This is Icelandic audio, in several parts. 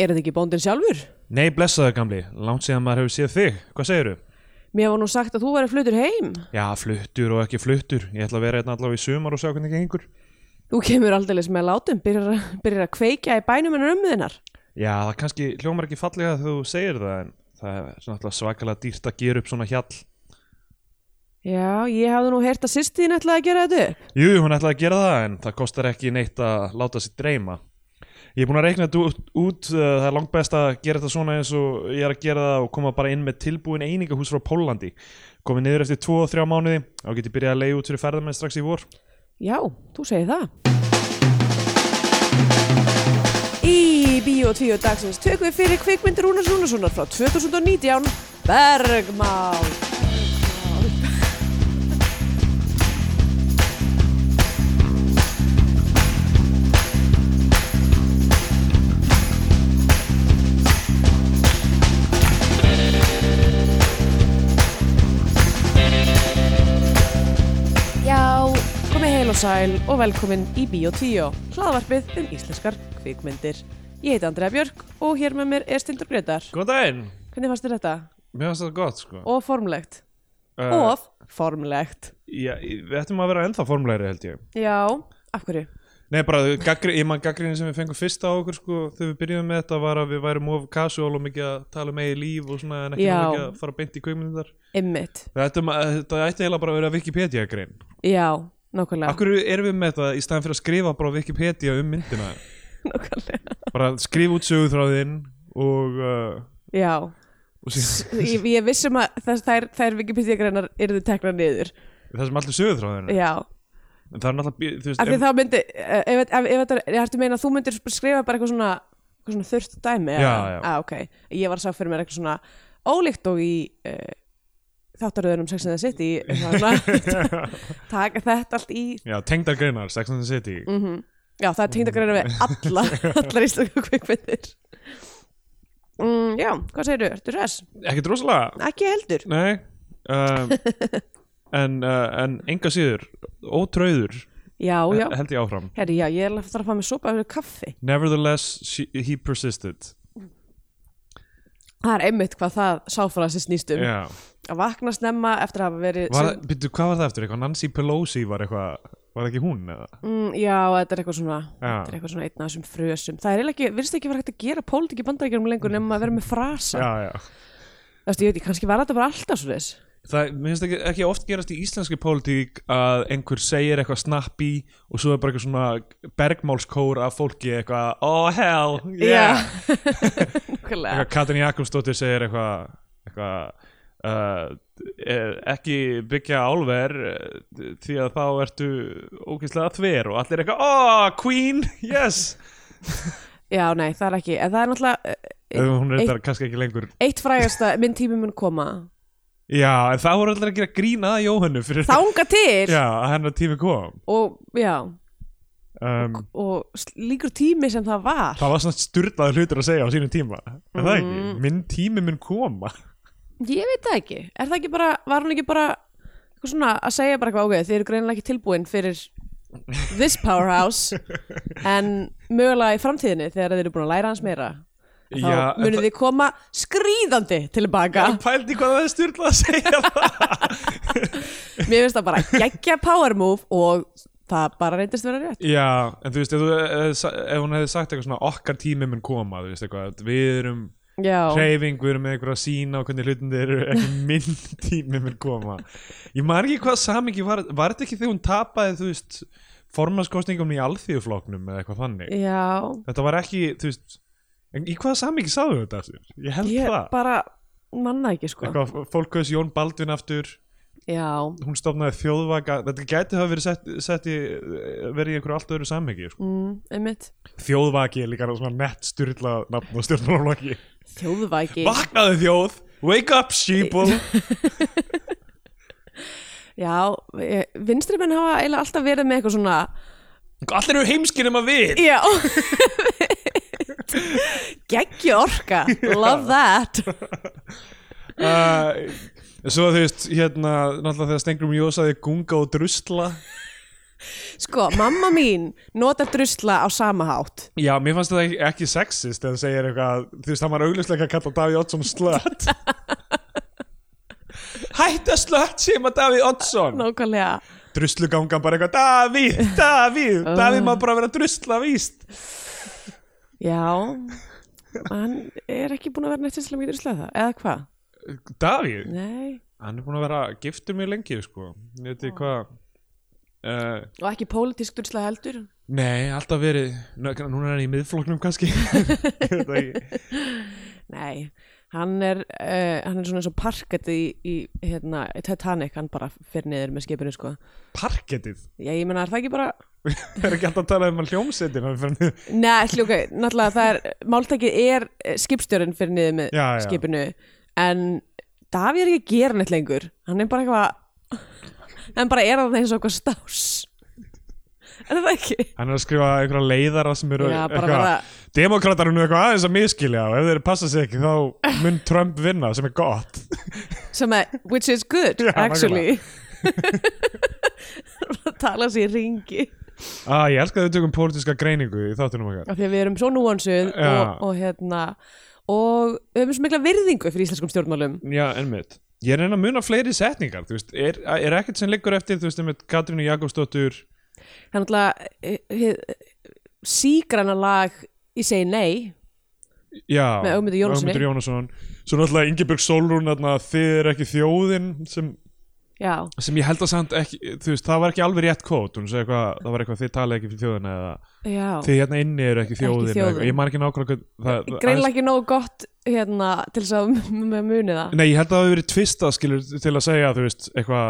Er þetta ekki bóndin sjálfur? Nei, blessaðu gamli, langt síðan maður hefur séð þig, hvað segiru? Mér var nú sagt að þú væri flutur heim. Já, fluttur og ekki fluttur, ég ætla að vera einn allavega í sumar og sjá hvernig gengur. Þú kemur aldeilis með látum, byrjar, að- byrjar að kveikja í bænum en römmuðinar. Já, það kannski hljómar ekki fallega þegar þú segir það, en það er náttúrulega svakalega dýrt að gera upp svona hjall. Já, ég hafði nú heyrt að sýstíðin ætlaði að gera þetta upp. Jú, hún ætlaði að gera það, en það kostar ekki neitt að láta sér dreyma. Ég er búin að reikna þetta út, út uh, það er langt best að gera þetta svona eins og ég er að gera það og koma bara inn með tilbúin einingahús frá Pólandi. Komið niður eftir 2-3 mánuði og geti byrjað að leiða út fyrir ferðamenn strax í vor. Já, þú segir það. Í Bíó 2 dagsins tökum við fyrir kvikmyndir Rúnars Rúnarssonar frá 2019 Bergmál. Já, komið heil og sæl og velkomin í Bíó 2, hlaðvarpið um íslenskar kvikmyndir. Ég heiti Andrea Björk og hér með mér er Stindur Gretar. Góðan daginn! Hvernig fannst þér þetta? Mér finnst þetta gott, sko. Og formlegt. Uh, Of formlegt. Já, við ættum að vera ennþá formlegri held ég Já, af hverju? Nei, bara gaggri, ég man gaggrinni sem við fengum fyrst á okkur sko, þegar við byrjum með þetta var að við værum of casual og mikið að tala um eigi líf og svona en ekki Já. nógu mikið að fara beint í kveimundar Ymmit. Þetta, þetta ætti eiginlega bara að vera Wikipedia-grein Já, nákvæmlega. Akkur erum við með þetta í staðan fyrir að skrifa bara á Wikipedia um myndina nákvæmlega. bara skrifa út sögutráðinn og, uh, Já, og síðan, ég, ég vissum að þess, þær, þær Wikipedia-greinar yrðu tekna niður. það sem allir sögutráðinn Já, en það er náttúrulega þú veist, af því em- þá myndi, eh, ef, ef, ef, ef þetta, ég hættu meina að þú myndir skrifa bara eitthvað svona, eitthvað svona þurft dæmi. Já, eða? já. Ah, ok, ég var að sá fyrir mér eitthvað svona ólíkt og í uh, þáttaröðunum Sex and the City, svona, taka þetta allt í, Já, tengdar greinar, Sex and the City Mm. já það er tengdagreinar við alla, allar íslaka kvikmyndir. Mm, já, hvað segirðu? Ertu res? Ekkert rosalega Ekki heldur. Nei um, en, uh, en enga síður ótröður Já, já. held ég áfram Herri, já, ég er að þarf að fá mér sopa yfir kaffi. Nevertheless, she, he persisted Það er einmitt hvað það sáfrasi snýst um. Já. Að vakna snemma eftir að hafa verið... var, byrju, Hvað var það eftir? Eitthvað Nancy Pelosi var eitthvað Var það ekki hún eða? mm, já, þetta er eitthvað svona, Já. þetta er eitthvað svona einn af þessum frösum. Það er eiginlega ekki, virðist ekki vera hægt að gera pólitík í bandaríkjörum lengur nema að vera með frasa. Já, já Þú veist, ég veit, ég kannski var þetta bara alltaf svo þess. Það, mér finnst ekki, ekki oft gerast í íslenski pólitík að einhver segir eitthvað snappi og svo er bara eitthvað svona bergmálskór af fólki eitthvað Oh hell, yeah Já, nákvæmlega. eitthvað Katrin Jakobsdóttir segir eitthvað eitthva, uh, eh, ekki byggja álver eh, því að þá ertu ógeðslega þver og allir eitthvað oh, queen, yes Já, nei, það er ekki. En það er náttúrulega eh, hún er þetta kannski ekki lengur eitt frægasta, minn tími mun koma. já, en það voru allir að gera grína að Jóhannu fyrir Þanga til! já, að hennar tími kom Og, já, um, og sl- líkur tími sem það var. það var svona styrlaður hlutur að segja á sínum tíma en það ekki, Mm. minn tími mun koma Ég veit það ekki. Er það ekki bara, var hún ekki bara eitthvað svona að segja bara eitthvað ágæð, þið eru greinilega ekki tilbúin fyrir this powerhouse en mögulega í framtíðinni þegar þið eru búin að læra hans meira þá Já, en munið þið koma skríðandi tilbaka. pældi hvað það er styrlað að segja það Mér finnst það bara geggja power move og það bara reyndist vera rétt. Já, en þú veist, ef, þú, eh, sa- ef hún hefði sagt eitthvað svona okkar tími mun koma, þú veist eitthvað, að við erum Já, hreyfing, við erum með einhverja sín á hvernig hlutin þeir eru ekki minn tími mun koma. Ég maður ekki hvað samingi var, var þetta ekki þegar hún tapaði, þú veist, formanskostningum í alþýðufloknum eða eitthvað þannig. já. Þetta var ekki, þú veist, en í hvað samingi sáðu þetta aftur? Ég held Ég það. bara manna ekki sko. Eitthvað, fólk veist Jón Baldvin aftur, Já, hún stofnaði þjóðvaka, þetta gæti hafa verið sett, sett í, verið í einhverju allt öðru samingi, sko. mm, einmitt. Þjóðvaki er líka svona nett styrla nafn og stjórnmálaflokki Þjóðvæki. Vaknaðu þjóð, wake up sheeple Já, e, vinstri menn hafa eiginlega alltaf verið með eitthvað svona Allir eru heimskir nema við Já Geggju orka Love that uh, Svo þú veist, hérna náttúrulega þegar Stengrum Jósaði gunga og drusla Sko, mamma mín notar drusla á sama hátt Já, mér fannst þetta ekki- ekki sexist þegar það segir eitthvað, þú veist, hann var augljóslega að kalla Davíð Oddsson slött Hætta slött sem að Davíð Oddsson Nákvæmlega Druslugangan bara eitthvað, Davíð, Davíð Davíð má bara vera drusla víst Já Hann er ekki búin að vera neitt sérslega mikið drusla það Eða hvað? Davíð, Nei hann er búin að vera giftur mjög lengi, sko Ég veit ekki hvað uh, Og ekki pólitísk drusla heldur Nei, alltaf verið Nú- Núna er hann í miðfloknum kannski Ég veit það ekki. Nei, hann er, uh, hann er svona eins og parkett í, í hérna, Titanic, hann bara fyrir niður með skipinu sko. Parkettið Já, ég meina, er það ekki bara Það er ekki alltaf að tala um að hljómsetin hann fyrir- Nei, ætli, ok, náttúrulega það er Máltækið er eh, skipstjórinn fyrir niður með Já, já. skipinu En Davíð er ekki að gera neitt lengur Hann er bara eitthvað Hann bara er hann eins og eitthvað stás Er það ekki? Hann er að skrifa einhverja leiðara sem eru Já, bara eitthvað, vera- demókratar eru nú eitthvað aðeins að miskilja og ef þeir passa sig ekki þá mun Trump vinna sem er gott. Sem að, which is good, Já, actually Bara Tala sér í ringi Ah, ég elska að við tökum pólitíska greiningu í þáttunum okkar. af því að við erum svo núansuð og, Já. og hérna og við höfum svo mikla virðingu fyrir íslenskum stjórnmálum Já, ennmitt. Ég er að reyna að muna fleiri setningar, þú veist, er, er ekkert sem liggur eftir, þú veist, með Katrínu Jakobsdóttur, þannig að sígrana eh, lag í segi nei já, Með Ögmundi Jónassyni. Ögmundur Jónasson, svo náttúrulega Ingeborg Solrún, þarna, þið er ekki þjóðin, sem, já, sem ég held að samt ekki, þú veist, það var ekki alveg rétt kót, hún segi eitthvað, það var eitthvað, þið tala ekki fyrir þjóðina eða já þið hérna inni eru ekki þjóðin, ekki þjóðin. ég man ekki nákvæmlega hvað- það- það- aðeins- greinlega ekki nógu gott hérna til þess að m- m- muni það Nei, ég held að það hafi verið tvista skilur til að segja, þú veist, eitthvað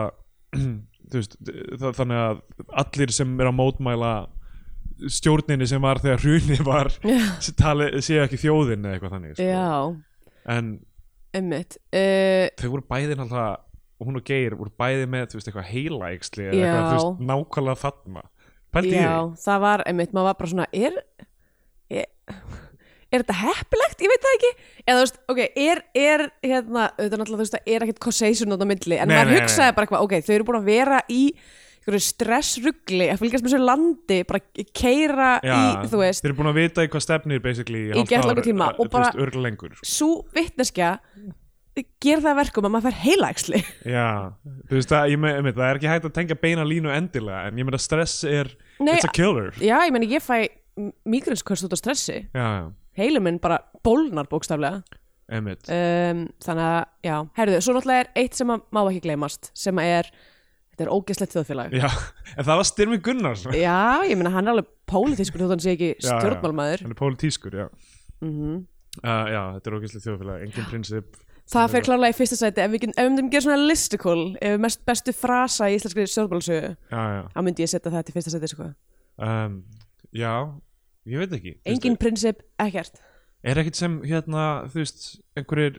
þú veist, þa- þannig að allir sem er að mótmæla stjórninni sem var þegar hruni var sé- tali, séu ekki þjóðin eða eitthvað þannig, sko. já, en einmitt uh, þau voru bæðin alltaf og hún og Geir voru bæði með, þú veist, eitthvað heilaæksli eða Já. eitthvað, þú veist, nákvæmlega þarna Pældi ég já, það var einmitt, maður var bara svona er, er, er þetta heppilegt, ég veit það ekki eða þú veist, ok, er, er hérna, auðvitað náttúrulega þú veist, það er ekkert causation út á milli, en Nei, maður nei, nei. hugsaði bara eitthvað, ok, þau eru búin að vera í einhverju stressrugli, að fylgjast með þessu landi bara keira Já, í, þú veist Þeir eru búin að vita í hvað stefnir basically í Í hálft gegnlangan ár, tíma að- og bara- Þú veist, örgla lengur sko. svo vitneskja ger það að verkum að maður fær heilaæxli Já, þú veist það, ég með, með, það er ekki hægt að tengja beina línu endilega en ég með að stress er, Nei, it's a killer já, ég meni, ég fæ migrinskvörst út af stressi Já, já, heilum minn bara bólnar bókstaflega emitt um, þannig að, já, herruðu, svo náttúrulega er eitt sem að má ekki gleymast, sem að er þetta er ógeðslegt þjóðfélag Já, en það var Styrmi Gunnars já, ég meina hann er alveg pólitískur þótt hann sé ekki stjórnmálmaður Hann er pólitískur, já Mhm. uh, Já, þetta er ógæslega þjóðfélag, engin prinsip það fer klárlega í fyrsta sæti, ef við, getum- ef við myndum gera svona listicle, ef við mest bestu frasa í íslenskri stjórnmálsögu, Já, já, þá myndi ég setja það til fyrsta sæti, sko, um, já, ég veit ekki Þú engin prinsip, ekkert veist, Er ekkit sem, hérna, þú veist, einhverjir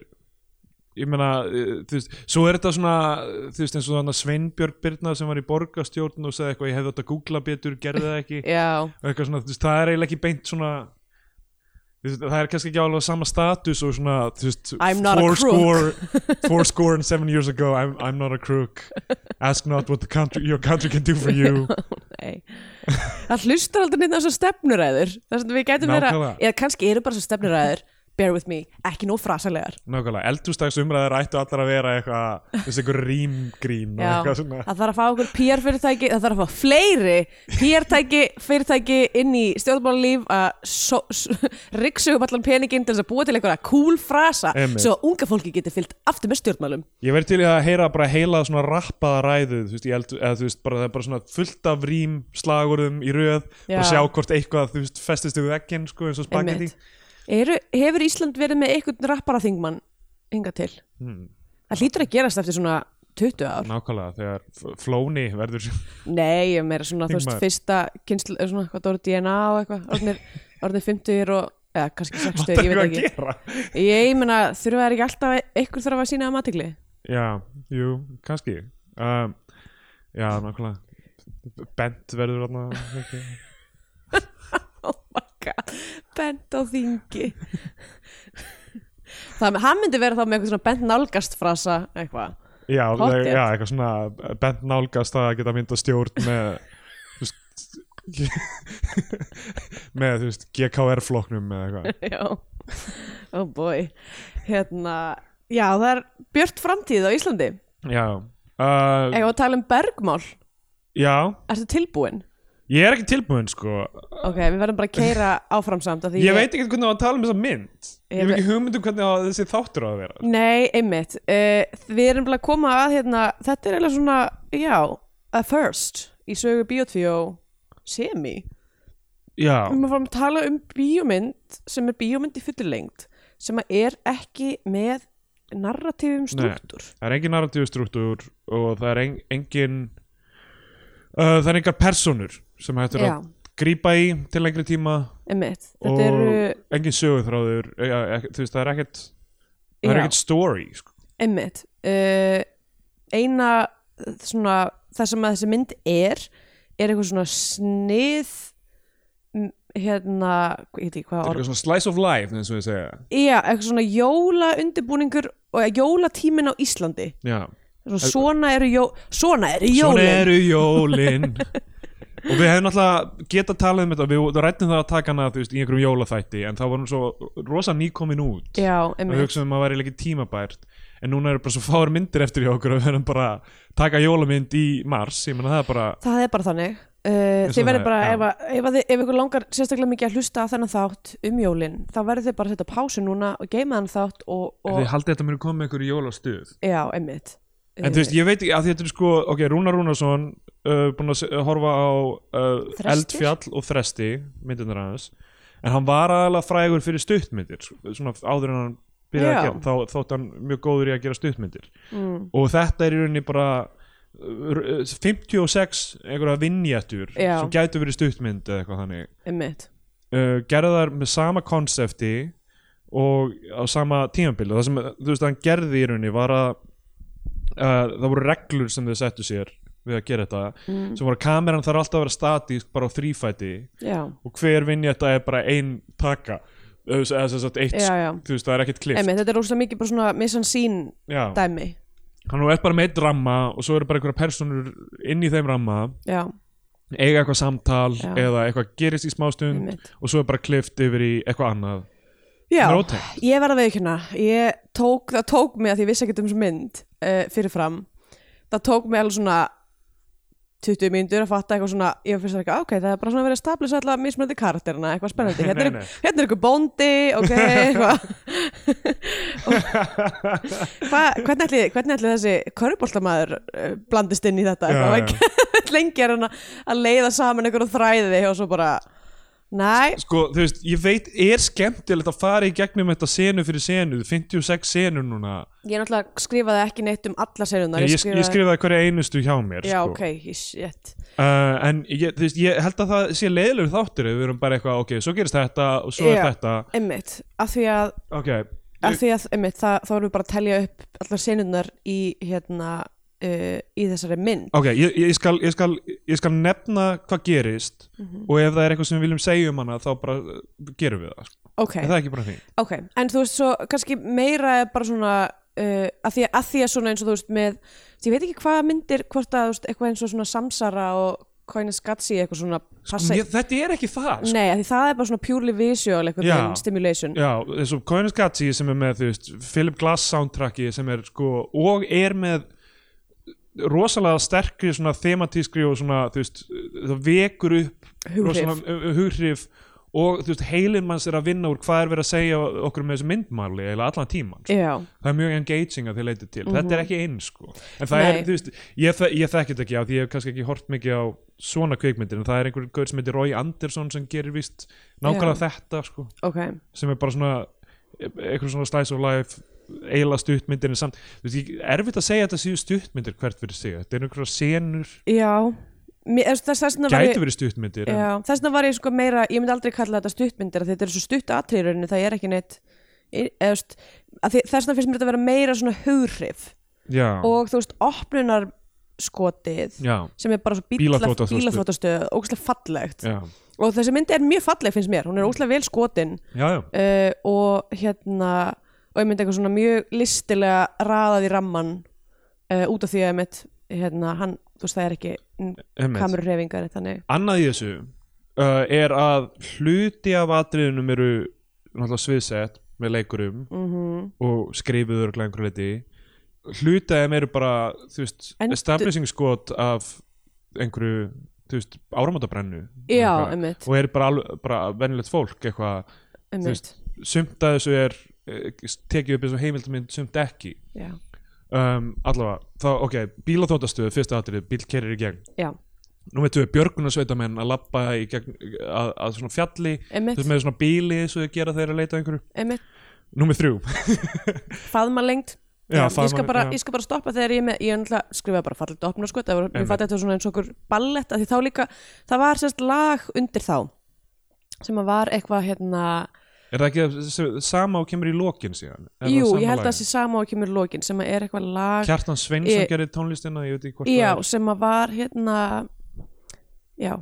Ég meina, uh, þú veist, svo er þetta svona, uh, þú veist, eins og þannig Sveinbjörg Birna sem var í borgarstjórn og sagði eitthvað, ég hefði átt að googla betur, gerði það ekki. já, og eitthvað svona, þú veist, það er eiginlega ekki beint svona þú veist, það er kannski ekki alveg sama status og svona, þú veist I'm not a four crook. score, four score and seven years ago I'm, I'm not a crook ask not what the country, your country can do for you nei það hlustar aldrei neitt á þessu stefnuræður þess að við gætum vera, Nákvæmlega. eða kannski eru bara þessu stefnuræður bear with me, ekki nóg frasalegar nákvæmlega, eldhústags umræðar ættu allar að vera eitthvað, þessi einhver rýmgrín og Já, eitthvað svona það þarf að fá okkur PR fyrirtæki, það þarf að fá fleiri PR tæki, fyrirtæki inn í stjórnmálalíf að so, so, ryggsugum allan peningin til þess að búa til einhverja cool frasa Einmitt. svo að unga fólki getur fyllt aftur með stjórnmálum ég verð til í að heyra bara heila svona rappaða ræðu, þú veist, í eldu, eða þú veist bara, það er bara svona fullt af rým slagurðum í röð, bara Já. sjá hvort eitthvað þú veist, festist við vegginn, sko, eins og spagetti Einmitt. Eru, hefur Ísland verið með einhvern rappara þingmann hinga til? Hmm. Það hlýtur að gerast eftir svona 20 ár nákvæmlega, þegar f- flóni verður Nei, ég meira svona, þú veist, Þingmaður. fyrsta kynslu, eða svona, hvað það voru DNA og eitthvað, orðnir, orðnir 50 og, eða kannski 60, Vantar ég eitthvað veit að ekki. gera Ég meina, þurfa þær ekki alltaf, einhver þarf að sína að matikli. Já, jú, kannski um, Já, nákvæmlega Bent verður þarna ekki. Oh my god, bent á þingi. Það, hann myndi vera þá með eitthvað svona bent nálgast frasa, eitthvað. Já, Pottþétt. já, eitthvað svona Bent nálgast að geta mynda stjórn með þú veist, með, þú veist, GKR flokknum eða eitthvað já, oh boy hérna, já það er björt framtíð á Íslandi Já, uh, eða að tala um bergmál, já ertu tilbúin? Ég er ekki tilbúin, sko ok, við verðum bara að keira áfram samt af því Ég veit ekki hvernig það var að tala um þessa mynd Ég Ég hef ve- ekki hugmynd um hvernig á að þessi þáttur á að vera nei, einmitt, uh, við erum bara að koma að hérna, þetta er eiginlega svona já, að first í sögu Bíotvíó semi Já, við erum að fara að tala um bíómynd sem er bíómynd í fullurlengd sem að er ekki með narratífum struktúr það er engin narratíu struktúr og það er en, engin uh, það er engar personur sem hættur Já. að grípa í til lengri tíma einmitt, og þetta eru engin söguþráður e, e, þú veist, það er ekkert það er Já. ekkert story sko. Einmitt uh, Eina eh, svona, það sem að þessi mynd er er eitthvað svona snið m- hérna, ég veit ekki það hvað er orð eitthvað svona slice of life eins og ég segja Já, eitthvað svona jóla og jólatímin á Íslandi Já. svona, svona eru jó, svona eru svona jólin eru jólin og við hefum náttúrulega geta talað um þetta við rættum það að taka hana þú veist, í einhverjum jólaþætti en þá var hún svo rosa nýkomin út Já, og einmitt hugsaðum að það væri ekki tímabært en núna eru bara svo fáar myndir eftir hjá okkur og við erum bara að taka jólamynd í mars ég menna það er bara Það er bara þannig uh, og Þið verður það, bara, já. ef, að- ef, að þið- ef ykkur langar sérstaklega mikið að hlusta á þennan þátt um jólin, þá verður þið bara að setja pásu núna og geima þennan þátt og, þið og haldið þetta muni koma með ykkur í jólastuð já, einmitt en þú Eh, veist, ég veit ekki að þetta er sko ok, Rúnar Rúnarsson uh, búin að se- horfa á uh, Þrestir? eldfjall og þresti myndirnar hans en hann var aðalega frægur fyrir stuttmyndir svona áður en hann byrjaði að Já. gera þá þótt hann mjög góður í að gera stuttmyndir mm, og þetta er í rauninni bara uh, r- 56 einhverja vinnjættur Já. sem gætu verið stuttmynd eða eitthvað þannig einmitt uh, gerði þær með sama konsepti og á sama tímabili það sem þú veist að hann gerði í rauninni var að uh, það voru reglur sem þau settu sér við að gera þetta mm, sem voru að kameran þarf alltaf að vera statísk bara á þrýfæti já, og hver vinn ég þetta er bara ein taka Þú veist, eða sem sagt eitt já, já þú veist það er ekkert klift einmitt, þetta er óslega mikið bara svona missan sín já, dæmi hann er bara með eitt ramma og svo eru bara einhverja personur inn í þeim ramma já, eiga eitthvað samtal Já. eða eitthvað gerist í smástund einmitt og svo er bara klift yfir í eitthvað annað já, Sem er ótengt. ég verð að veikuna ég tók, það tók mig að því ég vissi ekkert um þessu mynd uh, fyrirfram það tók mig alveg svona 20 mínútur að fatta eitthvað svona ég finnst það ekki, ok, það er bara svona verið að stablisa alltaf mismunandi karakterina, eitthvað spennandi hérna er, Nei, nei. hérna er eitthvað bóndi, ok eitthvað Hva, hvernig, ætli, hvernig ætli þessi körboltamaður uh, blandist inn í þetta Já, eitthvað, já. ekki? lengi er hann að- að leiða saman einhverjum þræði og svo bara næ, Sko, þú veist, ég veit, er skemmtilegt að fara í gegnum þetta senu fyrir senu 56 senur núna ég náttúrulega skrifaði ekki neitt um alla seriunar ég, ég, ég skrifaði hverja einustu hjá mér já, sko. ok, ég- shit uh, En ég, þú veist, ég held að það sé leiðilegur þáttur ef við erum bara eitthvað, ok, svo gerist þetta og svo Já. er þetta einmitt, af því að, Ok, af því að einmitt, það, þá erum við bara að telja upp allar seriunar í hérna uh, í þessari mynd ok, ég, ég, skal, ég, skal, ég skal nefna hvað gerist Mhm. og ef það er eitthvað sem við viljum segja um hana þá bara uh, gerum við það sko. ok, Er það ekki bara því? ok, en þú veist svo kannski meira er bara svona uh, að, því að, að því að svona eins og þú veist með ég veit ekki hvað myndir, hvort að þú veist, eitthvað eins og svona samsara og Coinus Gatsi eitthvað svona passa, Sko, Mér, þetta er ekki það sko. nei, að því það er bara svona purely visual eitthvað Já. veginn stimulation Já, eins og Coinus Gatsi sem er með, þú veist, Philip Glass soundtracki sem er sko, og er með rosalega sterkri svona thematískri og svona, þú veist það vekur upp Hughrif. rosalega uh, hughrif og þú veist, heilin manns er að vinna úr hvað er verið að segja okkur með þessu myndmáli eða allan tíman, sko. Já. það er mjög engaging að þið leiti til, þetta er ekki eins sko en það Nei. er, þú veist, ég, þe- ég þekki þetta ekki á því ég hef kannski ekki hort mikið á svona kvikmyndir en það er einhver gaur sem heitir Roy Anderson sem gerir vist nákvæmlega þetta sko ok, sem er bara svona e- eitthvað svona slice of life eiginlega stuttmyndir en samt þú veist, ég- erfitt að segja að þetta séu stuttmyndir hvert fyrir sig þetta er einhverja senur, já Mér, þess, þess, þess, vegna var ég- gæti verið stuttmyndir en, Já, þess vegna var ég sko meira, ég myndi aldrei kalla þetta stuttmyndir af því þetta er svo stutt atriðurinn það er ekki neitt eðust, því, þess vegna finnst mér þetta vera meira svona hughrif já, og þú veist opnunar skotið já, sem er bara svo Bílaþvottastöð. bílaþóttastöð ógæslega fallegt já, og þessi myndi er mjög falleg finnst mér, hún er ógæslega vel skotin já, já. uh, og hérna og ég myndi eitthvað svona mjög listilega raðað í ramman uh, út af því að ég mitt hérna, hann, þú veist það er ekki Einmitt. kamerurhefingar þannig annað í þessu uh, er að hluti af atriðunum eru náttúrulega sviðsett með leikurum mm og skrifuður og einhverju leiti hluti af þeim eru bara þú veist, En- establishing skot af einhverju þú veist, áramótabrennu já, Eitthvað. einmitt, og eru bara, alveg- bara venjulegt fólk eitthvað, þú einmitt. veist, sumt að þessu er eh, tekið upp eins og heimildmynd sumt ekki Já, um, allavega, þá, ok, bílaþóttastöð fyrsta atrið, bíl kerir í gegn já, nú veitum við björgunarsveitamenn að labba í gegn, að, að svona fjalli einmitt, Þú veist með svona bíli eins og þau gera þegar þeir eru að leita að einhverju einmitt Númer þrjú faðmalengd Já, Já, ég, skal faðma- bara, já. ég skal bara stoppa þegar ég er með, ég náttúrulega skrifaði bara fallegt opna sko, það var, ég Einmitt. fatt þetta var svona eins og okkur ballett að því þá líka, það var sérst lag undir þá sem að var eitthvað hérna, Er það ekki það sem- sama og kemur í lokin síðan? Er það jú, sama ég held að lagið? það sé sama og kemur lokin sem að er eitthvað lag, Kjartan Sveinsson Ég- gerði tónlistina, ég veit ekki hvort já, það sem að var hérna, já,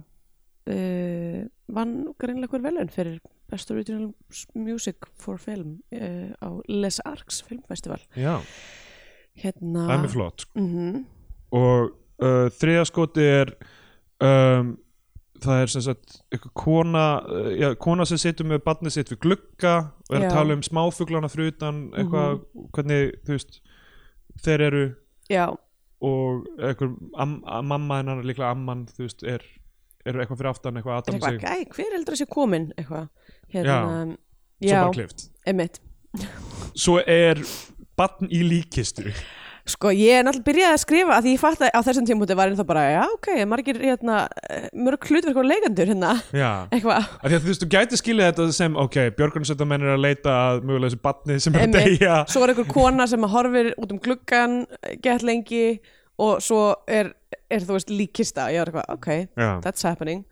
uh, vann greinlega hver velun fyrir Best Original Music for Film uh, á Les Arcs Filmfestival, er Já, hérna, það er mjög flott sko. Mhm, Og uh, þriða skoti er um, Það er sem sagt eitthvað kona, uh, já, kona sem situr með barnið sitt við glugga og er Já. Mhm. að tala um smáfuglana fyrir utan eitthvað, hvernig, þú veist þeir eru já, og eitthvað, am, am, mamma hennar líklega amman, þú veist, er, er eitthvað fyrir aftan, eitthvað að er atama sig eitthvað, æ, hver heldur þessi komin eitthvað, Já. hérna svo já, bara klift emitt svo er batn í líkistu sko, ég er náttúrulega byrjaði að skrifa af því ég fatt að á þessum tímúti var ég þá bara já, ok, margir, hérna, eh, mörg hlutverk og leikandur hérna, já eitthvað Af því að þú veist, þú gæti skilið þetta sem, ok, björgunarsveitamenn er að leita að mögulega þessu batni sem er að Einmitt. deyja svo er einhver kona sem að horfir út um gluggan gett lengi og svo er, er þú veist, líkista ég var eitthvað, ok, já. that's happening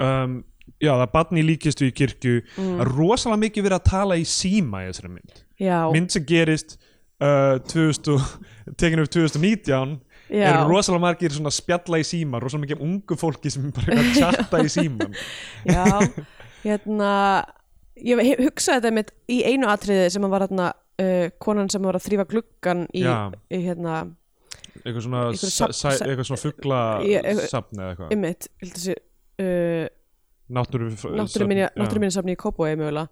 Um, já, það er batni í líkistu í kirkju mm. rosalega mikið verið að tala í síma í þessari mynd já, mynd sem gerist uh, 2000, og- tekin upp 2019 já, eru rosalega margir svona að spjalla í síma rosalega mikið ungu fólki sem er bara að chatta í síman já, hérna ég he- hugsaði þetta mitt í einu atriði sem að var hérna uh, konan sem var að þrýfa gluggan í, Já. í hérna, eitthvað svona, Einhverju sa- safn- sa- sa- eitthvað svona fugla Ég- eitthvað- Um, safn eða eitthvað ymmit, heldur þessi uh, náttúru, náttúruminja- safn, já. náttúruminjasafni í Kópói mögulega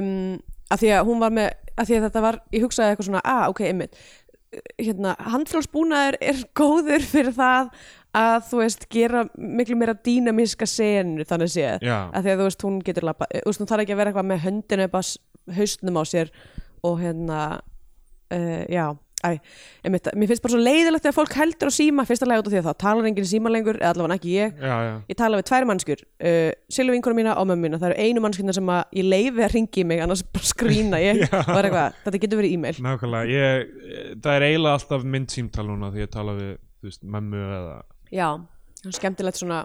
um, að því að hún var með að því að þetta var, ég hugsaði eitthvað svona ah, ok, einmitt hérna, handfrálsbúnaður er góður fyrir það að þú veist gera miklu meira dýnamíska senu þannig séð, Já. að því að þú veist hún getur labba, þú veist hún þarf ekki að vera eitthvað með höndinu upp að haustnum á sér og hérna uh, já, æ, einmitt, mér finnst bara svo leiðilegt þegar fólk heldur á síma, fyrsta lega út af því að þá talar enginn í síma lengur, eða allavega ekki ég já, já. ég tala við tvær mannskjur uh, Silvi vinkonu mína og mömmu mína það eru einu mannskjurna sem að ég leifi að ringi mig annars bara skrýna ég Já. og er eitthvað, þetta getur verið e-mail Nákvæmlega, ég, eh, það er eiginlega alltaf mynd símtal núna því ég tala við þú veist, memmu eða já, það er skemmtilegt svona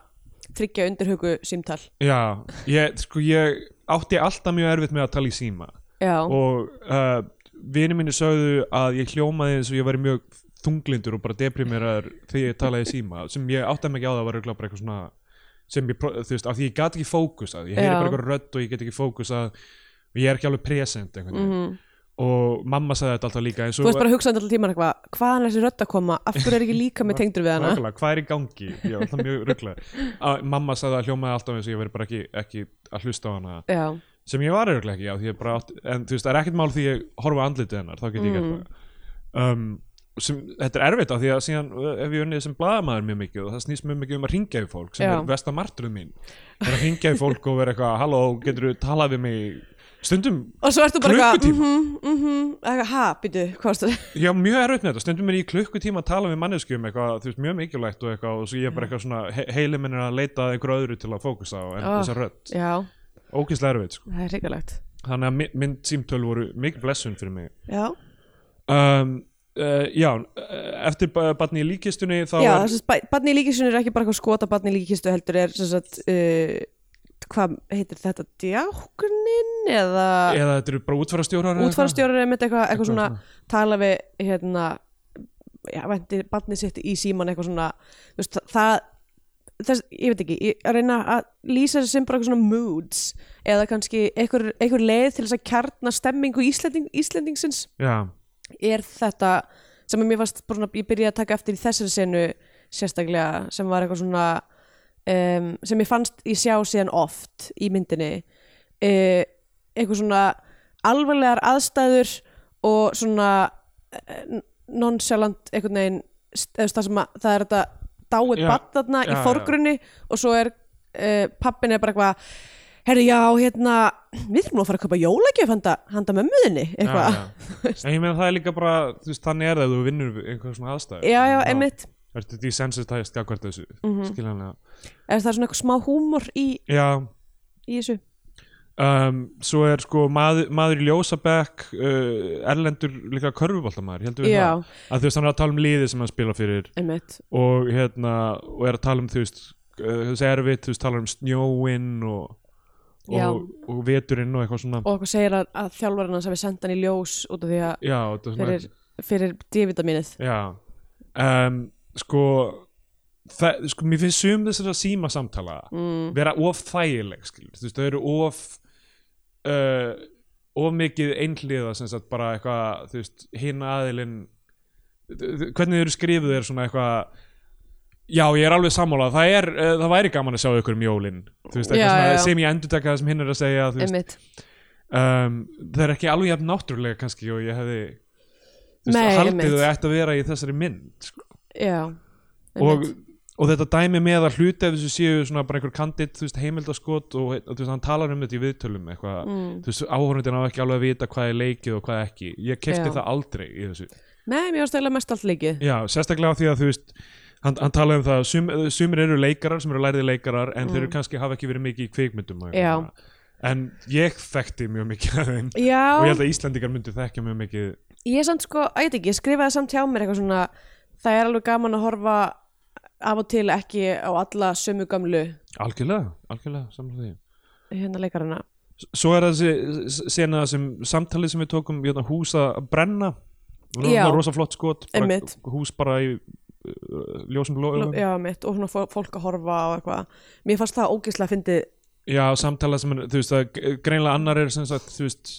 tryggja undirhugu símtal Já, ég, sko, ég átti alltaf mjög erfitt með að tala í síma já, og uh, vini mínu sögðu að ég hljómaði eins og ég væri mjög þunglindur og bara deprimeraður þegar ég talaði í síma sem ég átti mig ekki á það var örugglega bara eitthvað svona sem ég, pró- þú veist, af því ég gat ekki fókusað ég heyri Já. bara eitthvað rödd og ég get ekki fókusað og ég er ekki alveg present einhvern veginn og mamma sagði þetta alltaf líka Mhm. þú veist bara hugsaðan alltaf tíman eitthvað hvaðan er þessi rödd að koma, af hverju er ekki líka með tengdur við hana Nákvæmlega, hvað er í gangi? Ég var alltaf mjög rugglega Mamma sagði að hljómaði alltaf eins og ég veri bara ekki, ekki að hlusta á hana já, sem ég var rugglega ekki á því ég bara átt, en þú veist, það er ekkert mál því ég horfa andlitið hennar þá get ég mm. gert það um, sem, Þetta er erfitt á því að síðan uh, hef ég unnið sem blaðamaður mjög mikið og það snýst mjög mikið um að ringja í fólk sem Já. er versta martruð mín er að ringja í fólk og vera eitthvað halló, getur þú talað við mig stundum, og svo ertu bara eitthvað Klukkutíma. mhm, mhm, eitthvað, ha, býtu, hvað varstu ég á mjög erfitt með þetta stundum er ég í klukkutíma að tala við manneskjum eitthvað, þú veist, mjög mikilvægt og eitthvað og svo ég er bara Mm. eitthvað svona, he heili minn er að leita að einhverju öðru til að fókusa á en Ah. þessa rödd já, ógeðslega erfitt, sko. það er hrigalegt þannig að mi- mynd símtöl voru mikil blessun fyrir mig já, um, uh, já, eh, eftir ba- barni í líkistunni þá já er þess að barni í líkisunni er ekki bara eitthvað skota barni í líkistu heldur er sem sagt uh, hvað heitir þetta, djáknin eða eða þetta eru bara útfarastjórar útfarstjórar eða eitthvað, Eitthvað eitthvað svona tala við hérna já, vendi barni sitt í síman eitthvað svona þú veist, það þess, ég veit ekki, ég að reyna að lýsa þessu sem bara eitthvað svona moods eða kannski einhver, einhver leið til þess að kjarna stemmingu Íslending, Íslendingsins já, er þetta sem að mér fannst bara svona, ég byrjaði að taka eftir í þessari senu sérstaklega sem var eitthvað svona um, sem ég fannst ég sjá síðan oft í myndinni uh, eitthvað svona alvarlegar aðstæður og svona uh, nonchalant einhvern veginn st- eða þú veist, það sem að það er þetta dáið Já. barn þarna Já, í já. forgrunni og svo er uh, pappin er bara eitthvað herri já hérna við þurfum nú að fara að kaupa jólagjöf handa, handa mömmuðinni eitthvað já, En ég meina það er líka bara, þú veist, þannig er það ef þú vinnur við einhver svona aðstæður já, Þá einmitt Ertu desensitized gagvart þessu, mm Mhm. skiljanlega er það svona eitthvað smá húmor í, Já, í þessu um, svo er sko maður, maður í ljósabekk uh, Erlendur líka körfuboltamaður, heldur við já, það að þú veist, hann er að tala um liðið sem hann spila fyrir einmitt og hérna, og er að tala um þú veist, uh, þú veist, erfitt, þú veist, tala um snjóinn og Já. og, og veturinn og eitthvað svona og okkur segir að, að þjálfarinn hans hafi sendt hann í ljós út af því að Já, þetta er svona fyrir, fyrir D-vitaminið Já um, Sko það, Sko, mér finnst sum þessara síma samtala mm, vera of þægileg skilur. þú veist, þau eru of uh, of mikið einhliða sem sagt bara eitthvað þú veist, hinn aðilinn hvernig þau eru skrifuð er svona eitthvað Já, ég er alveg sammála, það, er, uh, það væri gaman að sjá ykkur um jólin Þú veist, eitthvað Já, svona já, já. sem ég endurtaka það sem hinn er að segja þú veist, einmitt um, það er ekki alveg jafn náttúrulega kannski og ég hefði þú veist, Nei, haldið einmitt. þau ætti að vera í þessari mynd sko. já, og, einmitt. og þetta dæmi með að hluti af þessu séu svona bara einhver kandid þú veist, heimildaskot og og þú veist, hann talar um þetta í viðtölum eitthvað Mm. þú veist, áhorfundin á ekki alveg að vita hvað er leikið og hvað ekki ég kefti Já. það aldrei í þessu nei, mér ástæðilega mest allt leikið já, sérstaklega af því að þú veist hann, hann talaði um það að sum, sumir eru leikarar sem eru lærði leikarar en þeir eru kannski hafa ekki verið mikið í kvikmyndum og Mm. Já. eitthvað svona. en ég þekkti mjög mikið af þeim og ég já, held að Íslendingar myndu þekkja mjög mikið ég samt sko, að ég veit ekki, ég skrifaði samt hjá mér eitthvað svona, það er alveg gaman að horfa af og til ekki á alla sömu gamlu algjörlega, algjörlega sammála því. hérna leikarana S- svo er þessi sena sem samtalið sem við tókum hérna, hús að brenna og það Já. var rosa flott skot bara, Einmitt. hús bara í uh, ljósum blóðum já. já, mitt, og svona fó- fólk að horfa á eitthvað mér fannst það ógeðslega að fyndi já, samtalið sem er, þú veist, það greinlega annar er sem sagt, þú veist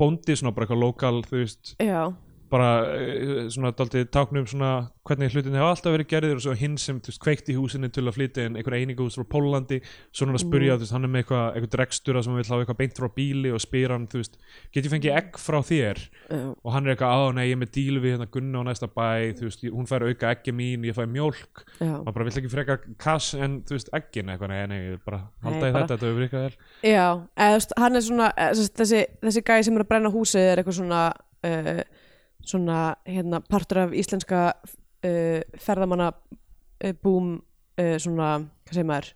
bóndi svona bara eitthvað lokal, þú veist já, bara eh, svona daldið táknum svona hvernig hlutin hefur alltaf verið gerðir og svo hinn sem þú veist kveikti í húsinni til að flytja inn einhver einingu hús frá Pólandi svo er hann að Mm. spyrja, þú veist, hann er með eitthvað eitthvað drekstura sem hann vill hafa eitthvað beint frá bíli og spyr hann, þú veist, get ég fengið egg frá þér já, og hann er eitthvað, á nei, ég er með díl við hérna Gunna á næsta bæ, þú veist, ég- hún fær auka eggi mín, ég fæ mjólk, já. maður bara vill ekki frekar kass en, þú veist, eggin eitthvað, nei, nei, ég bara halda Nei, í bara- þetta, þetta hefur virkað vel Já, eða, þú veist, hann er svona eða, sem sagt, þessi, þessi gæi sem er að brenna húsið er eitthvað svona uh, svona hérna, partur af íslenska uh, ferðamanna uh, búm uh, svona, hvað segir maður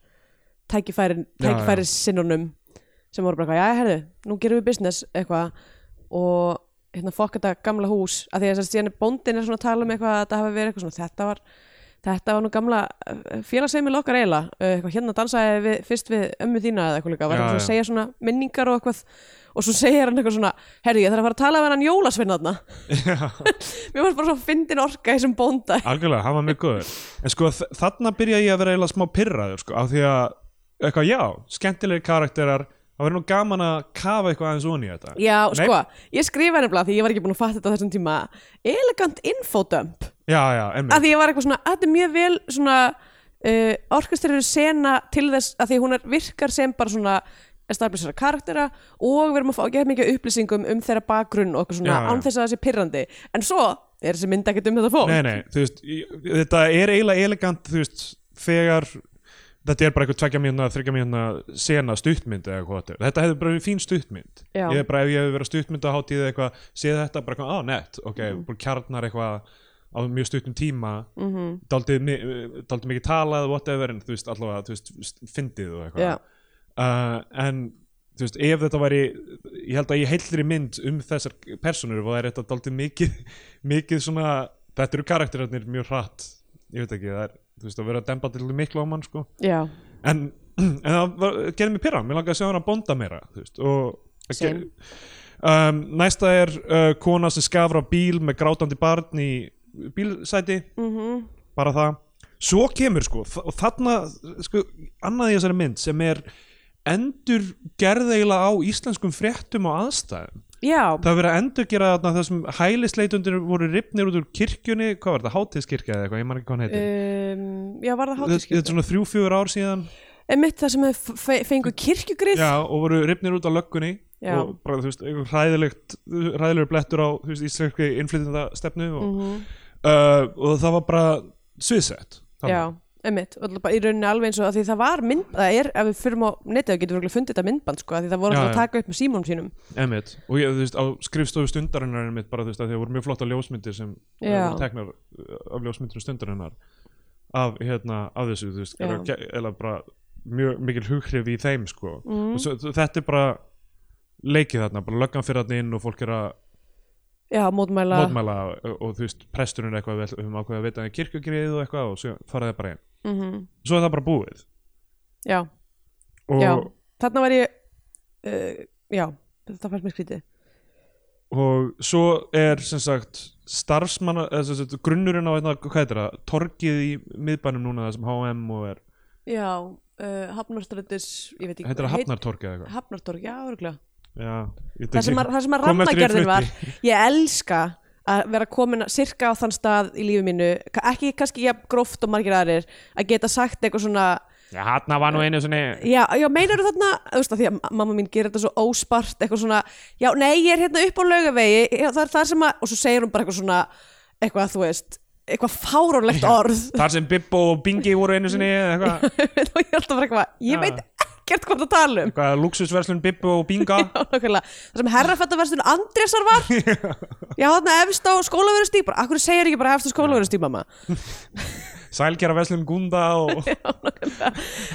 tækifærin, Já, já. tækifæri sinnunum sem voru bara eitthvað, já, herðu, nú gerum við business eitthvað og hérna fokk þetta gamla hús að því að þess að síðan er bóndin er svona að tala um eitthvað að þetta hafa verið eitthvað svona, þetta var þetta var nú gamla eh, félagsheimil okkar eiginlega, eh, eitthvað hérna dansaði við, fyrst við ömmu þína eða eitthvað líka, var Já, hann svona já. að segja svona minningar og eitthvað og svo segir hann eitthvað svona, herri ég þarf að fara að tala við hann jólasveinn þarna mér varst bara svo fyndin orka í sem bónda Algjörlega, hann var mjög góður En sko þ- þarna byrja ég að vera eiginlega smá pyrraður sko, af því að, eitthvað, já, skemmtilegir karakterar það verður nú gaman að kafa eitthvað aðeins onni í þetta Já, Nei. sko, ég skrifa nefnilega því ég var ekki búin að fatta þetta á þessum tíma elegant infodump Já, já, að emmi, því ég var eitthvað svona, að þetta er mjög vel svona uh, orkestrir sena til þess að því hún er, virkar sem bara svona establisera karaktera og við erum að fá ekki mikið af upplýsingum um þeirra bakgrunn og eitthvað svona Já, já. án þess að það sé pirrandi en svo er þessi mynd ekkert um þetta fólk nei, nei, þú veist ég- þetta er eiginlega elegant, þú veist þegar, þetta er bara eitthvað tvekja mínuna, þryggja mínuna sena stuttmynd eða hvað þetta er, þetta hefði bara verið fín stuttmynd Já. ég er bara, ef ég hefði verið stuttmynd að hátíð eitthvað, séð þetta bara eitthvað, á, nett ok, bara kjarnar eitthvað á mjög stuttum tíma mm -hmm. daldið, mi- daldið mikið talað, whatever en þú veist, allavega, þú veist, st- fyndið og eitthvað Já. uh, en þú veist, ef þetta væri ég held að ég heildri mynd um þessar personur og það er þetta daldið mikið mikið svona, þetta eru karakterarnir mjög hratt, ég veit ekki það er, þú veist, að vera að dempa til miklu á mann sko. Já, en, en það var, gerði mér pyrra, mér langaði að sjá hana bónda meira þú veist, og Same. um, næsta er uh, kona sem skafra bíl með grátandi barn í bílsæti mhm, bara það svo kemur sko, þ- og þarna sko, annað í þessari mynd sem er endur gerðeila á íslenskum fréttum og aðstæðum já, Það er verið að endurgera þarna það sem hælisleitundir voru ripnir út úr kirkjunni, hvað var þetta, hátíðskirkja eða eitthvað, ég man ekki hvað hann heitir. um, já, var það Þetta þetta er hátískirkja svona þrjú, fjögur ár síðan einmitt það sem hefur fe- fengu kirkjugrið já, og voru ripnir út á löggunni Já. og bara, þú veist, einhver hræðilegt hræðilegur blettur á, þú veist, íslenski innflytjandastefnu og, Mhm. uh, og það var bara sviðsett þarna. já, einmitt, og bara í rauninni alveg eins og að því það var mynd, það er, ef við fyrir á netið og getum við fundið þetta myndband sko, að því það voru Já, alltaf að já. taka upp með símónum sínum Einmitt. og ég, þú veist, á skrifstofu stundarinnar einmitt, bara, þú veist, að það voru mjög flotta ljósmyndir sem eh, Já. voru teknar uh, af ljósmyndirum stundarinnar af, hérna, af þessu, þú veist Já. eða ge- eða bara mjög mikil hughrif í þeim, sko Mhm. mm. svo, þetta er bara leikið þarna, bara löggan fyrir þarna inn og fólk er að já, mótmæla, mótmæla og, og þú veist presturinn er eitthvað, við ætlum- við höfum ákveðið að veita hann kirkjugrið og eitthvað og svo fara það bara inn Mhm. svo er það bara búið já, og, já þarna var ég uh, já, þetta fannst mér skrítið og svo er sem sagt starfsmanna, eða, sem sagt, grunnurinn á hérna, hvað heitir það, torgið í miðbænum núna það sem H&M og er já, uh, Hafnarströndis ég veit ekki heitir það Hafnartorgið eða eitthvað Hafnartorg, já, örgulega já, ég það sem að, það sem að Kom eftir ég rammagerðin var flutti. ég elska að vera komin að- sirka á þann stað í lífi mínu ka- ekki kannski jafn gróft og margir aðrir að geta sagt eitthvað svona já, Hafnar var nú einu svona já, já meinar þarna, þú veist að því að ma- mamma mín gerir þetta svo óspart, eitthvað svona já, nei, ég er hérna upp á laugavegi já, það er þar sem að, og svo segir hún bara eitthvað svona eitthvað, þú veist, eitthvað fáránlegt orð þar sem Bibbo og Bingi voru einu sinni eða eitthvað, og ég er alltaf bara eitthvað, ég Já. veit ekkert hvað það tala um eitthvað luxusverslun Bibbo og Binga Já, nákvæmlega. Það sem herrafættaverslun Andrésar var Já, þarna efst á skólaverustíg bara, akkur segir ekki bara efst á skólaverustíg mamma sælgjara verslun Gunda og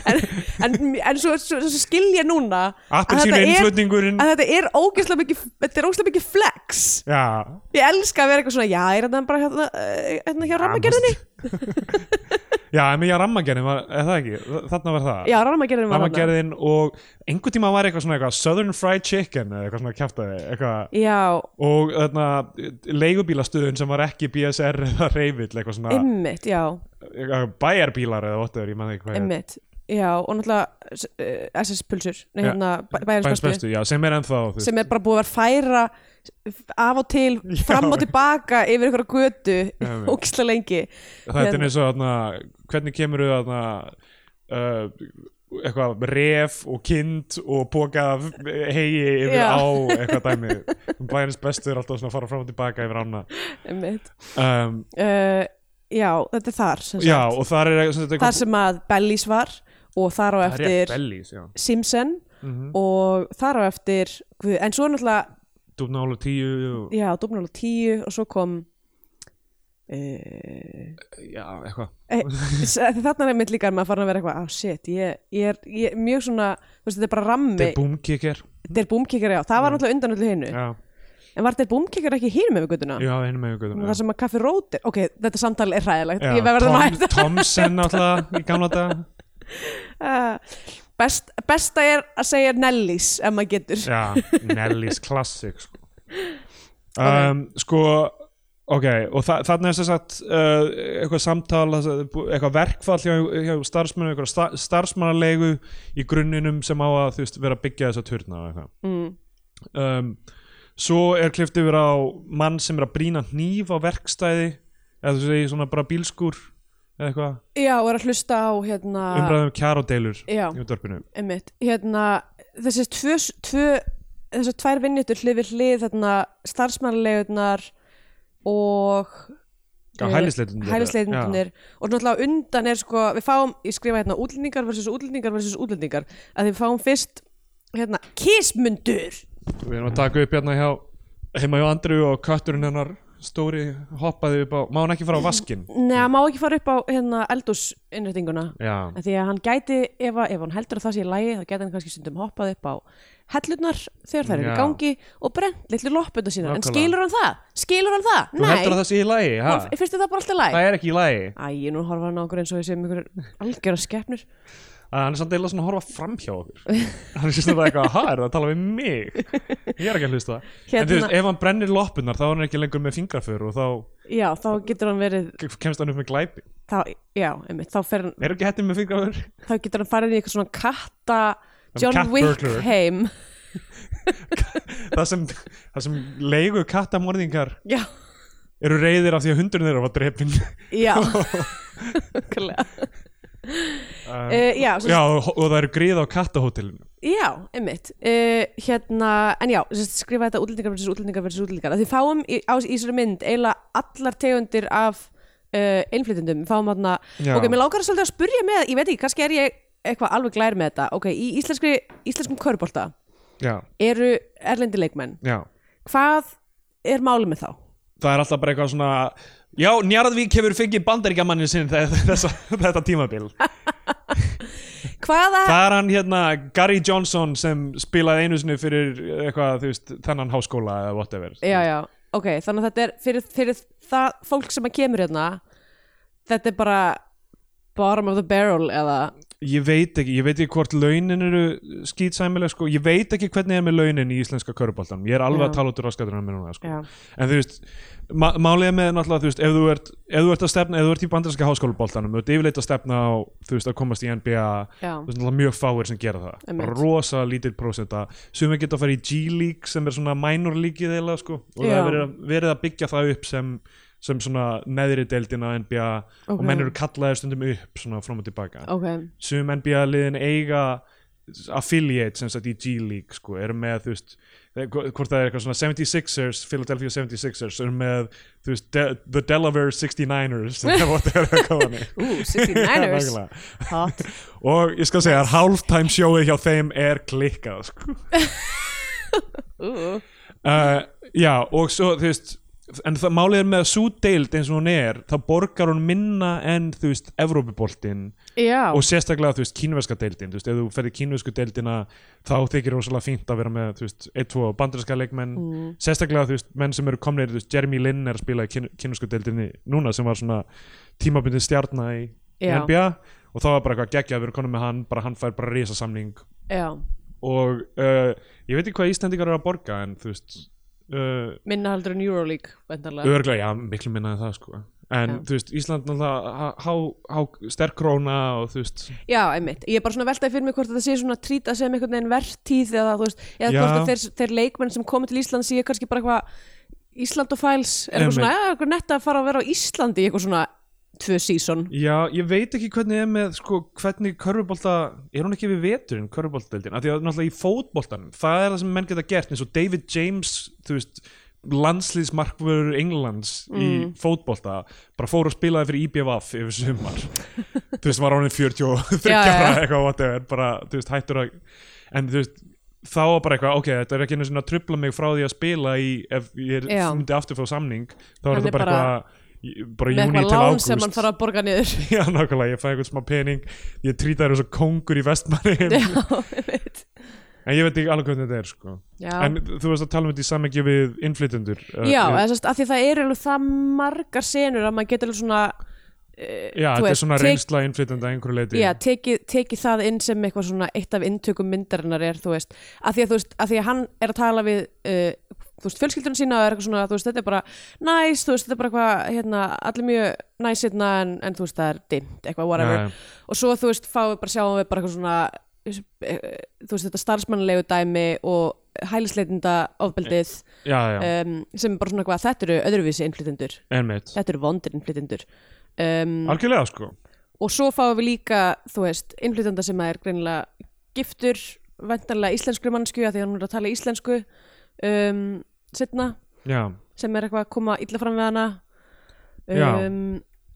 En, en, en svo, svo, svo skil ég núna að appelsínu þetta er- innflutningurinn að þetta er ógeðslega mikið þetta er ógeðslega mikið flex já, Ég elska að vera eitthvað svona, já, er þetta bara hérna, eh, hérna hjá rammagerðinni? Já, en mér rammagerðin var, er það ekki, þarna var það Já, rammagerðinni var þarna. Rammagerðin og einhver tíma var eitthvað svona eitthvað Southern Fried Chicken eða eitthvað svona kjaftaði eitthvað Já, og þarna leigubílastöðun sem var ekki BSR eða reyfill eitthvað svona ymmit, já, eitthvað, bæjarbílar eða whatever, ég man ekki hvað er ymmit Já, og náttúrulega s- eh, SS-pulsur Nei, Já, hérna, bæjarins Bæjarsbestu, já, sem er ennþá þú veist. sem er bara búið að vera að færa af og til, fram og tilbaka yfir einhverja götu, Einmitt. ógislega lengi Þetta er hérna. eins og þarna, hvernig kemur þau þarna uh, eitthvað ref og kind og póka af hegi yfir Já. á eitthvað dæmi Bæjarins bestu er alltaf svona að fara fram og tilbaka yfir ána Einmitt. um, uh, Já, þetta er þar sem sagt. Já, og þar er sem sagt, þar sem að Bellis var og þar á Það er rétt, Mhm. eftir Bellis, já Simpson og þar á eftir guð, en svo náttúrulega, Dúfna álu tíu og, já, Dómnál og tíu og svo kom uh, Já, eitthvað Eh, s- því þarna er einmitt líka að maður farin að vera eitthvað, ah shit, ég, ég, er, ég er mjög svona, þú veist, þetta er bara Þetta rammi er boomkicker þetta er búmkikari á, það var náttúrulega undan öllu hinu Já, En var þetta búmkikkar ekki hýrum yfir guttuna? já henni með ykkur Það sem að kaffi rótir, ok, þetta samtal er ræðilegt, ég verður að hætta. Tomsen alltaf í gamla dag Uh, Best, besta er að segja Nellis ef maður getur. Já, Nellis Classic sko. Um, sko Ok, og þa þarna er sem sagt uh, eitthvað samtal, þar sem- eitthvað verkfall hjá, hjá starfsmennu, eitthvað sta starfsmannalegu í grunninum sem á að þú veist, vera að byggja þessa turna og eitthvað. Mm. um, svo er klift yfir á mann sem er að brýna hníf á verkstæði eða þú segir svona bara bílskur eða eitthvað, Já, og er að hlusta á, hérna, umræðum kjarodeilur Já. í útvarpinu einmitt, hérna, þessi tvö, tvö, þessi tvær vinnutur hlið við hlið, þarna, starfsmannlegunar og Já, hælisleitundunir. hælisleitundir og náttúrulega á undan er sko við fáum, ég skrifa hérna útlendingar versus útlendingar versus útlendingar að við fáum fyrst hérna kismundur við erum að taka upp hérna hjá heima hjá Andru og kötturinn hennar stóri hoppaði upp á, má hann ekki fara á vaskin Nei, hann má ekki fara upp á hérna eldúsinnréttinguna já, af því að hann gæti, ef, að- ef hann heldur að það sé í lægi þá gæti hann kannski stundum hoppað upp á hellurnar þegar þær eru í Já. gangi og brent litlu loppuna sína, en Nákvæmlega. skilur hann það? Skilur hann það? þú heldur að Nei, það sé í lagi ha? hann fyrst þetta bara alltaf læg það er ekki í lagi, Æ, nú horfa hann á okkur eins og ég sem ykkur algjöra skepnur að hann er samt eila svona að horfa fram hjá okkur hann er svona eitthvað, ha, er það að tala við mig ég er ekki að hlusta en þú Hérna- veist, ef hann brennir loppunar þá er hann ekki lengur með fingraför og þá Já, þá getur hann verið kemst hann upp með glæpi þá, Já, einmitt, þá, fer hann, Er ekki hættin með fingrafur? þá getur hann farið í eitthvað svona katta Um, John cat Wick burglar. heim það sem, það sem leigu kattamorðingar já, eru reyðir af því að hundurinn þeirra var drepin já Nákvæmlega. um, Eh, já, sem Já, og, og það eru gríð á kattahótelinu Já, einmitt uh, hérna, En já, sem sagt, skrifa þetta útlendingar versus útlendingar versus útlendingar Því fáum í, á, í þessari mynd eiginlega allar tegundir af uh, innflytjendum Við Fáum þarna, Já. ok, mér lágar svolítið að spurja með Ég veit ekki, kannski er ég eitthvað alveg glær með þetta Ok, í íslenskri, íslenskum körbolta Já, eru erlendi leikmenn já Hvað er málið með þá? Það er alltaf bara eitthvað svona Já, Njarðvík hefur fengið bandaríkjamannin sinn þe- þessa, þetta tímabil Hvaða, Það er hann hérna Gary Johnson sem spilaði einu sinni fyrir eitthvað, þú veist, þennan háskóla eða whatever já, já, ok Þannig að þetta er fyrir, fyrir það fólk sem að kemur hérna Þetta er bara bottom of the barrel eða Ég veit ekki, ég veit ekki hvort launin eru skýtsæmilega sko, ég veit ekki hvernig er með launin í íslenska körubóltanum, ég er alveg að Já. tala út úr raskatunum mér núna sko. Já. en þú veist, ma málið er með náttúrulega þú veist, ef þú ert, ef þú ert að stefna ef þú ert í bandarinska háskólaboltanum, þú ert yfirleitt að stefna á, þú veist, að komast í NBA þú Já. veist, náttúrulega mjög fáir sem gera það Einmitt. Bara rosa lítill prósenta sumir geta að fara í G-League sem er svona minor league eða sko, og það Já. er verið að, verið að byggja það upp sem sem svona neðri deildina NBA og Ok. menn eru kallaðir stundum upp svona fram og tilbaka Ok sum NBA liðin eiga affiliate sem sagt í G-League sko, eru með þú veist eh, hvo- hvort það er eitthvað svona 76ers Philadelphia 76ers eru með þú veist De The Delaware 69ers eða whatever það kom hann í. Ú, Já, 69ers nákvæmlega. Hot og ég skal segja að halftime showið hjá þeim er klikkað sko. Ú, uh, já og svo þú veist en það málið er með að svo deild eins og hún er þá borgar hún minna en þú veist Evrópuboltinn Já, og sérstaklega þú veist kínverska deildin þú veist, ef þú ferði kínversku deildina þá þykir rosalega fínt að vera með þú veist, ein, tvo bandarinska leikmenn, Mm. sérstaklega þú veist menn sem eru komnir, þú veist, Jeremy Lin er að spila í kín, kínversku deildinni núna sem var svona tímabundin stjarna í Já. NBA og þá var bara eitthvað geggja að vera konum með hann, bara hann fær bara risasamning já og uh, ég veit ekki hvað Íslendingar eru að borga en þú veist uh, Minna heldur en Euroleague Vendarlega Örglega, já, miklu minnaði það sko En Já. þú veist, Ísland náttúrulega há, há, há sterk króna og þú veist Já, einmitt Ég er bara svona veltaði fyrir mig hvort þetta sé svona trýta sem einhvern veginn vertíð eða þú veist Já. eða hvort að þeir, þeir leikmenn sem komi til Ísland séu kannski bara eitthvað Ísland og Files er eitthvað Einmitt. svona, eða eitthvað netta að fara að vera á Íslandi í eitthvað svona tvö season Já, ég veit ekki hvernig er með sko, hvernig körfubolta, er hún ekki við veturinn körfuboltadeildin, af því að náttúrulega í fótboltanum það er það sem menn geta gert, eins og David James þú veist, landslýsmarkvörur Englands í Hm. fótbolta bara fór og spilaði fyrir IBVF yfir sumar, þú veist, var ánum 43 Já, já, ára já. eitthvað whatever, bara, þú veist, hættur að en þú veist, þá var bara eitthvað, ok, þetta er ekki einu svona að trubla mig frá því að spila í, ef ég Já. myndi aftur fá samning, þá er Hann er þetta bara, bara- eitthvað í- bara með júni eitthvað til lán sem hann ágúst fara að borga niður Já, nákvæmlega, ég fæði einhvern smá pening Ég trýta þér eins og kongur í vestmanni Já, En einmitt ég veit ekki alveg hvernig þetta er sko. Já. En þú veist að tala um þetta í samhengi við innflytjendur uh, Já, við- eða sérst, af því það eru alveg það margar senur að maður getur alveg svona já eh, þú þetta er veist, svona tek- reynsla innflytjenda að einhverju leiti Já, tekið teki það inn sem eitthvað svona eitt af inntökum myndarinnar er, þú veist, að því að, þú veist, að, því að hann er að tala við, uh, þú veist, fjölskyldunum sína og er eitthvað svona, þú veist, þetta er bara næs, þú veist, þetta er bara eitthvað, hérna, allir mjög næs hérna en, en þú veist, það er dimmt, eitthvað, whatever. Já, já. Og svo, þú veist, fáum við bara, sjáum við bara eitthvað svona, eh, þú veist, þetta starfsmannlegu dæmi og hælisleitinda ofbeldið já, já, um, sem er bara svona eitthvað, þetta eru öðruvísi innflytendur, einmitt þetta eru vondir innflytendur. Um, Algjörlega sko og svo fáum við líka, þú veist, innflytjanda sem er greinilega giftur, vendarlega íslenskri mannsku að því að hún er að tala íslensku um, setna, Já, sem er eitthvað að koma illa fram við hana Já. um,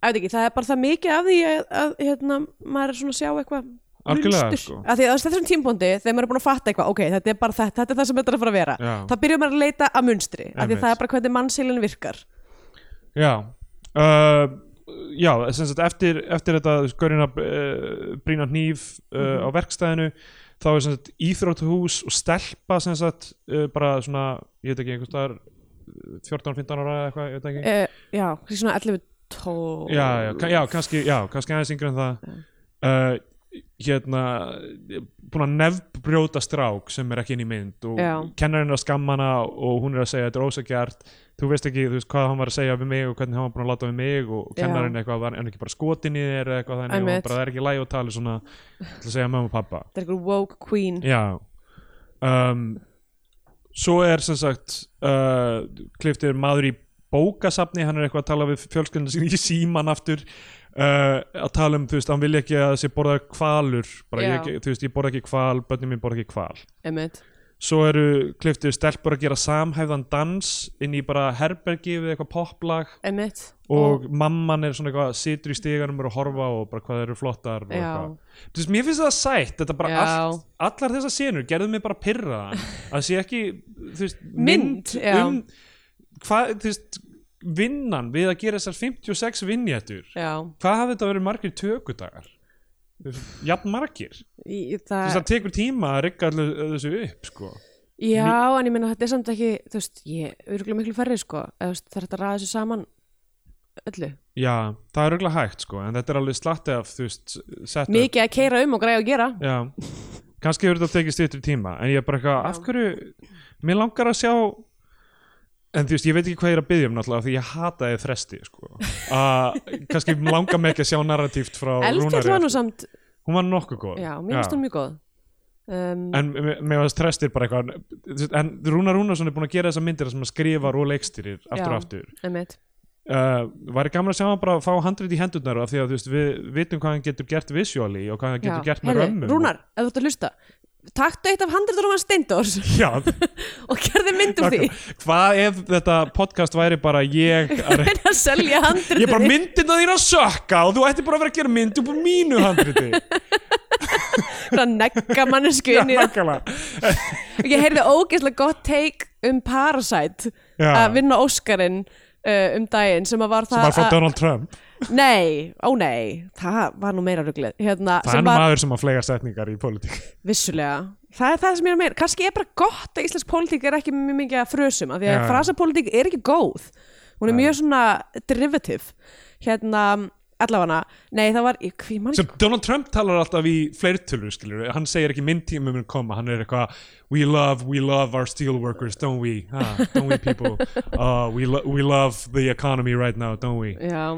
að veit ekki, það er bara það mikið af því að, að hérna, maður er svona að sjá eitthvað Algjörlega, munstur. sko. að því að á þessum tímpóndi, þegar maður er búin að fatta eitthvað ok, þetta er bara þetta, þetta er það sem þetta er að fara að vera Já. þá byrjum maður að leita að munstri, að því Einmitt. það er bara hvernig mannsheilin virkar já uh, Já, sem sagt eftir, eftir þetta skörina uh, brýna hníf uh, Mhm. á verkstæðinu þá er sem sagt íþrótthús og stelpa sem sagt uh, bara svona, ég veit ekki einhvers staðar 14-15 ára eða eitthvað, ég veit ekki uh, já, kannski svona 11 12 já, já, ka- já, kannski, já, kannski aðeins yngri en það uh, hérna búin að nefbrjóta strák sem er ekki inn í mynd og Já. kennarinn er að skamma hana og hún er að segja þetta er ósagjart þú veist ekki þú veist, hvað hann var að segja við mig og hvernig hann var búin að láta við mig og Já. kennarinn eitthvað var en ekki bara skotin í þér eða eitthvað þannig og Einmitt. hann bara það er ekki læg og tali svona til að segja mamma og pappa þetta er eitthvað woke queen já um, svo er sem sagt uh, Klift er maður í bókasafni hann er eitthvað að tala við fjölskyldinu sín í síman aftur uh, að tala um, þú veist, hann vilja ekki að þessi borða kvalur bara, Já. ég, þú veist, ég borða ekki kval, börnum mín borða ekki kval Emmett svo eru kliftu stelpur að gera samhæfðan dans inn í bara herbergi við eitthvað poplag Emmett og mamman er svona eitthvað situr í stíganum og er að horfa og bara hvað þeir eru flottar og Já. eitthvað. Þú veist, mér finnst það sætt þetta bara Já. allt, allar þessar senur gerðu mig bara pirraðan að sé ekki þú veist, Mynd, mynd, já. um hvað, þú veist, vinnan við að gera þessar 56 vinnjættur Já hvað hafði þetta verið margir tökudagar Þú veist, jafn margir í, í- þú það, veist, það tekur tíma að rigga allu þessu upp sko. Já, en ég meina þetta er samt ekki Þú veist, ég örgulega miklu færri sko Eða, þú veist, Það er þetta að ræða þessu saman öllu já, það er auðvitað hægt sko, en þetta er alveg slatti af þú veist, setup. Mikið að keira um og græja að gera Já, kannski hefur þetta tekið stýttur tíma en ég er bara eitthvað, Já. af hverju mér langar að sjá en þú veist, ég veit ekki hvað ég er að byggja um náttúrulega af því ég hataði fresti sko. að kannski langar mig ekki að sjá narratíft frá Elskar Rúnari það nú samt hún var nokkuð góð Já, mér finnst hún mjög góð um, en mér- mér varst frestir bara eitthvað en Rúnar Rúnarsson er búin að gera þessa myndir þar sem hann skrifar og leikstýrir aftur Já. og aftur Emmett uh, væri gaman að sjá hann bara að fá handrit í hendurnar af því að þú veist, við vitum hvað hann getur gert visuáli og hvað hann getur gert með Heyrðu, römmum Rúnar, ef þú ert að hlusta Taktu eitt af handritarum hans Steindors Já, og gerði mynd úr því Nákvæmlega. Hvað ef þetta podcast væri bara ég að reyna að selja handritin Ég er bara myndin að þín að sökka og þú ætti bara að vera að gera mynd upp á mínu handriti bara negga mannesku inn í það Nákvæmlega ég heyrði ógeðslega gott take um Parasite Já. að vinna Óskarinn uh, um daginn sem að var Sem var það frá Donald Trump að, nei, ó nei það var nú meira ruglið hérna, Það er sem nú var maður sem að flega setningar í politík vissulega það er það sem ég er að meira, kannski er bara gott að íslensk pólitík er ekki mjög mikið að frösum af því að Já. frasapólitík er ekki góð hún er mjög svona derivative hérna, allavega nei, það var, ég, hví mann Sem Donald Trump talar alltaf í fleirtölu skilur Hann segir ekki minn tíma mun koma Hann er eitthvað We love, we love our steel workers, don't we? Ah, don't we people? Uh, we, lo we love the economy right now, don't we? Já,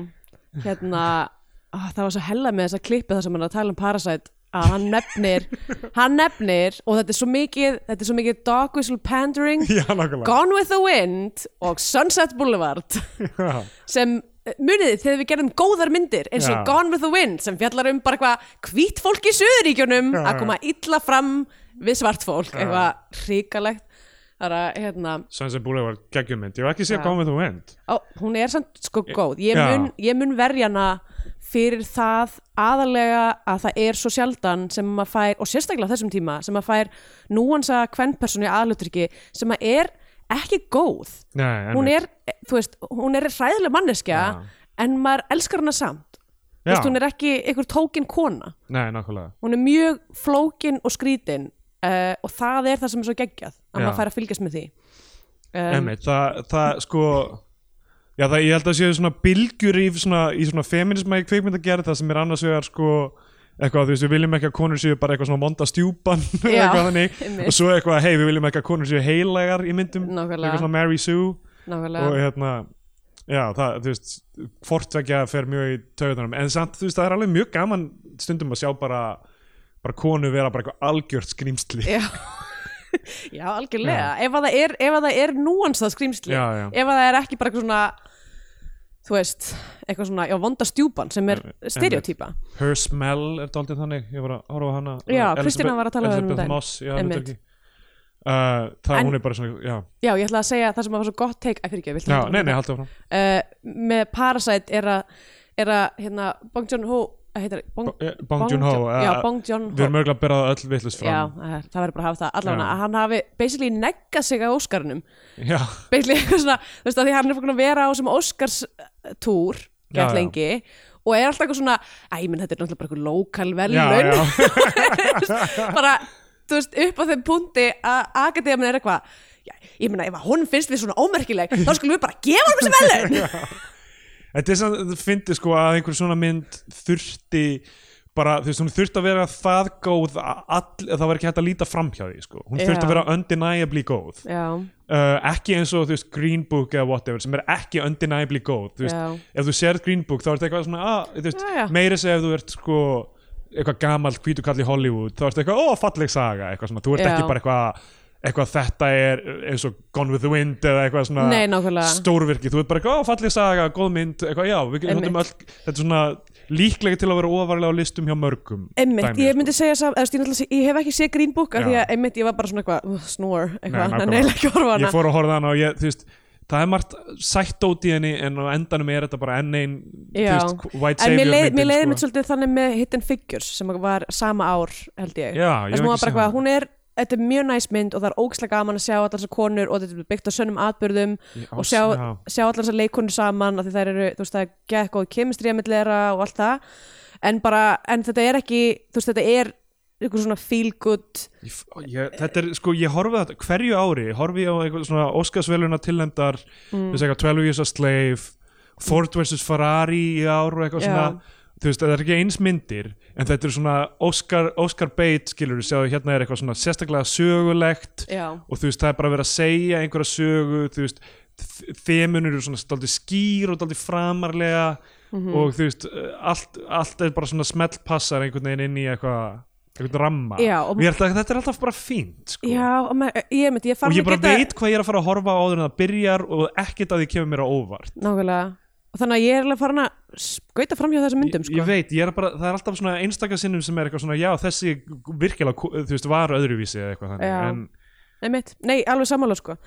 hérna á, það var svo hella með þessa klippu þar sem hann er að tala um Parasite að hann nefnir hann nefnir og þetta er svo mikið þetta er svo mikið dog whistle pandering Já, nákvæmlega Gone with the Wind og Sunset Boulevard Já. sem eh, munið þið þegar við gerðum góðar myndir eins og Já. Gone with the Wind sem fjallar um bara eitthvað hvít fólk í söðuríkjunum Já, að koma illa fram við svart fólk Já. eitthvað hrikalegt það er að hérna Sunset Boulevard geggjumynd, ég hef ekki séð Já. Gone with the Wind Ó, hún er samt sko góð ég Já. mun, ég mun verja hana fyrir það aðalega að það er svo sjaldan sem maður fær og sérstaklega á þessum tíma sem maður fær núansa kvennpersonu í aðlutryggi sem maður er ekki góð Nei, en- hún er, þú veist, hún er hræðileg manneskja Já. en maður elskar hana samt Þú Já. veist, hún er ekki einhver tókin kona Nei, nákvæmlega hún er mjög flókin og skrítin uh, og það er það sem er svo geggjað að Já. maður fær að fylgjast með því um, Einmitt, það, það sko Já, það, ég held að séu svona bylgjur í svona, í svona feminisma í kvikmyndagerð það sem er annars vegar sko eitthvað, þú veist, við viljum ekki að konur séu bara eitthvað svona monda stjúpan Já, eitthvað þannig einmitt. og svo eitthvað, hei, við viljum ekki að konur séu heilagar í myndum, Nákvæmlega. eitthvað svona Mary Sue nákvæmlega og hérna, já, það, þú veist hvortvekja fer mjög í töðunum en samt, þú veist, það er alveg mjög gaman stundum að sjá bara, bara konu vera bara eitthvað algjört skrýmsli Já, já algjörlega Ef, að það er, ef að það er núansað skrýmsli Já, já. Ef að það er ekki bara eitthvað svona Þú veist, eitthvað svona Já, vonda stjúpan sem er Einmitt. stereotýpa Her Smell er daldið þannig ég var að horfa á hana Já, Elizabeth- Kristína var að tala um hana um Elizabeth daginn. Moss, já, Einmitt. hlutverki. uh, það En- hún er bara svona já, Já, ég ætla að segja það sem að var svo gott teik Æ, fyrir ekki, viltu já halda nei, áfram? nei, haldið áfram Eh, Með Parasite er að er að, hérna, Bong Joon-ho eh, heitir, Bong, Bo- eh, Bong Joon-ho, Jo- eh, Já, Bong við Joon-ho erum örgulega að bera það öll vittlust Já, fram eh, það verður bara að hafa það allavega Já. að hann hafi basically neggað sig á Óskarunum já, já, basically eitthvað svona, þú veist að því hann er búin að vera á sem Óskars eh, túr Já, gett já. lengi og er alltaf eitthvað svona æ, menn þetta er náttúrulega bara eitthvað lokal já, velun bara, þú veist, upp á þeim punkti að akademið er eitthvað já, ég meina, ef að honum finnst við svona ómerkileg þá skulum við bara gefa honum þessi velun þetta er svona það fyndi sko að einhver svona mynd þurfti bara, þú veist, hún þurfti að vera það góð að all, það var ekki hægt að líta framhjá því sko. hún þurfti Já. að vera undeniably góð já, uh, ekki eins og þú veist Green Book eða whatever sem er ekki undeniably góð þú veist, Já. ef þú sér Green Book þá ertu eitthvað svona ah, þú veist, Já, já. meira segja ef þú ert sko eitthvað gamalt hvítukall í Hollywood þá ertu eitthvað, ó, falleg saga eitthvað svona, þú ert Já. ekki bara eitthvað eitthvað þetta er eins og Gone with the Wind eða eitthvað svona Nei, nákvæmlega. stórvirki, þú veit bara eitthvað "Ó, falleg saga, góð mynd, eitthvað já við Einmitt. notum öll, þetta er svona líklega til að vera ofarlega á listum hjá mörgum Einmitt, dæmi, ég sko. myndi segja sam, eða, þú veist, ég, náttúrulega sé- ég hef ekki séð Green Book af Já. því að einmitt ég var bara svona eitthvað "Ugh, snore, eitthvað, Nei, nákvæmlega. hann er ekki að horfa á hana ég fór að horfa þann og ég, þú veist það er margt sætt út í henni en á endanum er þetta bara enn ein þú Já. veist, white En savior mér leið- mér leiði myndin, sko. mitt svolítið þannig með Hidden Figures sem var sama ár held ég Já, ég Þess hún hef ekki var bara séð eitthvað, hana. hún er Þetta er mjög næs mynd og það er ógislega gaman að sjá allar þessar konur og þetta er byggt á sönnum atbyrðum Ég- og ás- sjá, já. sjá allar þessar leikonur saman af því það eru, þú veist, það er gekk og kemistri að milli þeirra og allt það en bara, en þetta er ekki, þú veist, þetta er einhver svona feel good Ég, f- ég, þetta er, sko, ég horfi að hverju ári, horfi ég á eitthvað svona Óskarsveluna tilnæmdar, mm. þess eitthvað 12 Years a Slave, Ford vs. Ferrari í ár og eitthvað Já. svona þú veist, það er ekki eins myndir en þetta er svona Óskar, Óskar Beit skilur, sjáðu hérna er eitthvað svona sérstaklega sögulegt Já. og þú veist, það er bara verið að segja einhverja sögu, þú veist þ- þemun eru svona stoltið skýr og stoltið framarlega Mhm. og þú veist, eh, allt, allt er bara svona smeltpassar einhvern veginn inn í eitthvað einhvern ramma, Já, og- og ég held að þetta er alltaf bara fínt, sko Já, og maður, ég myndi, ég fann og ég að bara geta veit hvað ég er að fara að horfa á áður en það byrjar og ekkert að því kemur mér á óvart Nákvæmlega Og þannig að ég er alveg farin að skauta framhjá þessum myndum sko. ég veit, ég er bara, það er alltaf svona einstaka sinnum sem er eitthvað svona, já þessi virkilega, ko- þú veist, var öðruvísi eða eitthvað þannig, Já. en Nei, mitt, nei, alveg sammála sko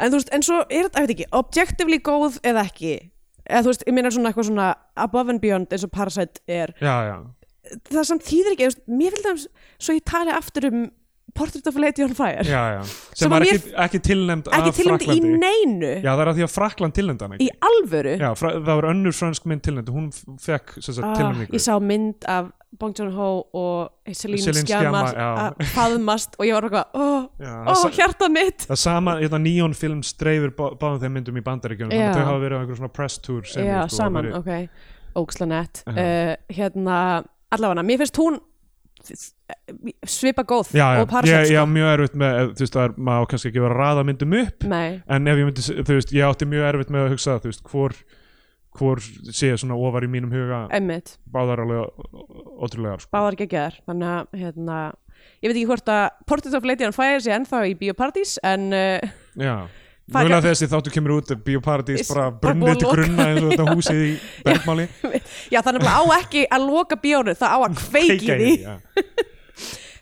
En þú veist, en svo er þetta, ég veit ekki, objectively góð eða ekki Eða þú veist, ég meina svona eitthvað svona above and beyond eins og Parasite er já, já, Það samt þýðir ekki, þú veist, mér vil það svo ég tali aftur um Portrait of a Lady on Fire já, já sem, Sem var að ekki, ekki tilnæmd Ekki af tilnæmd í Fraklandi neinu já, það er að því að Frakland tilnæmd hann Í ekki alvöru já, fra, það var önnur fransk mynd tilnæmd hún f- fekk sem sagt, Ah, tilnæmningu ég sá mynd af Bong Joon-ho og Celine, Celine Celine Sciamma, Skjama já. að faðmast og ég var eitthvað, ó, Já, ó, það sa- hjarta mitt það sama, þetta Neon Films dreifir bá, báðum þeim myndum í bandaríkjunum þannig Já. að þau hafa verið á einhverjum svona press tour sem, Já, sko, saman, verið- ok Óksla nett uh, Hérna, allavega, mér finnst hún svipa góð já, já, og sko. parsett ég, ég á mjög erfitt með ef, þú veist, það er, maður á kannski ekki að vera að raða myndum upp Nei, en ef ég myndi, s- þú veist, ég átti mjög erfitt með að hugsa, þú veist, hvor hvor sé svona ofar í mínum huga einmitt, báðar alveg ó- ó- ótrúlegar sko. báðar geggjaðar Þannig að, hérna Ég veit ekki hvort að Portrait of Lady on Fire sé ennþá í Bíóparadís en uh, já Það- Mögulega þessi þáttu kemur út Bíóparadís Is- bara bara búið brunnið að til loka. grunna eins og þetta húsið í bergmáli já, þannig að á ekki að loka bíónu það á að kveiki Kveikja því í, já.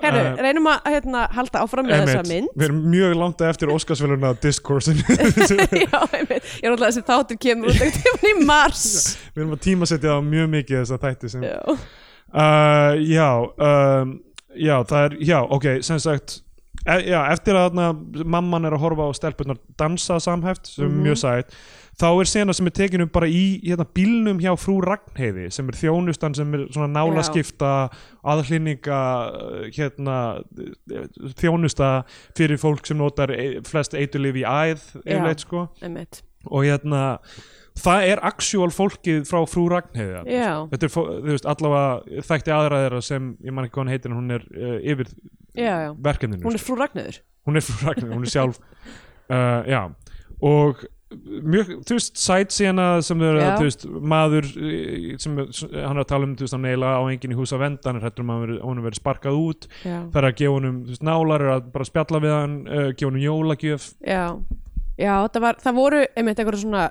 Herru, Eh, reynum að hérna, halda áfram með þessa mynd Einmitt. Við erum mjög langt á eftir Óskarsveluna diskursin Já, einmitt, ég er alltaf þessi þáttur kemur út ekkert í mars Við erum að tímasetja á mjög mikið þessa þætti sem Já, uh, já, um, já, það er, já, ok, sem sagt e já, eftir að þarna, mamman er að horfa á stelpunar dansa samhæft sem er mjög sætt, þá er sena sem er tekinu bara í hérna, bílnum hjá frú Ragnheiði sem er þjónustan sem er svona nálaskipta, aðhlýninga hérna eh, þjónusta fyrir fólk sem notar e flest eiturlif í æð Já. yfirleitt sko einmitt og hérna það er actual fólkið frá frú Ragnheiði þarna, Já. sko. þetta er, fó- þú veist, allavega þætti aðra þeirra sem, ég man ekki hvað hann heitir en hún er uh, yfir Já, já. verkefninu sko. Hún er frú Ragnöður hún er frú Ragnheiði, hún er sjálf uh, já, og mjög, þú veist, sæt sína sem þau eru, Já. þú veist, maður eh, sem er- hann er að tala um, þú veist, hann eiginlega á enginn í hús að venda, hann er hættur um að hún er verið sparkað út, Já það er að gefa honum þú veist, nálar, er að bara spjalla við hann uh, gefa honum jólagjöf Já, já það, var, það voru einmitt einhverja svona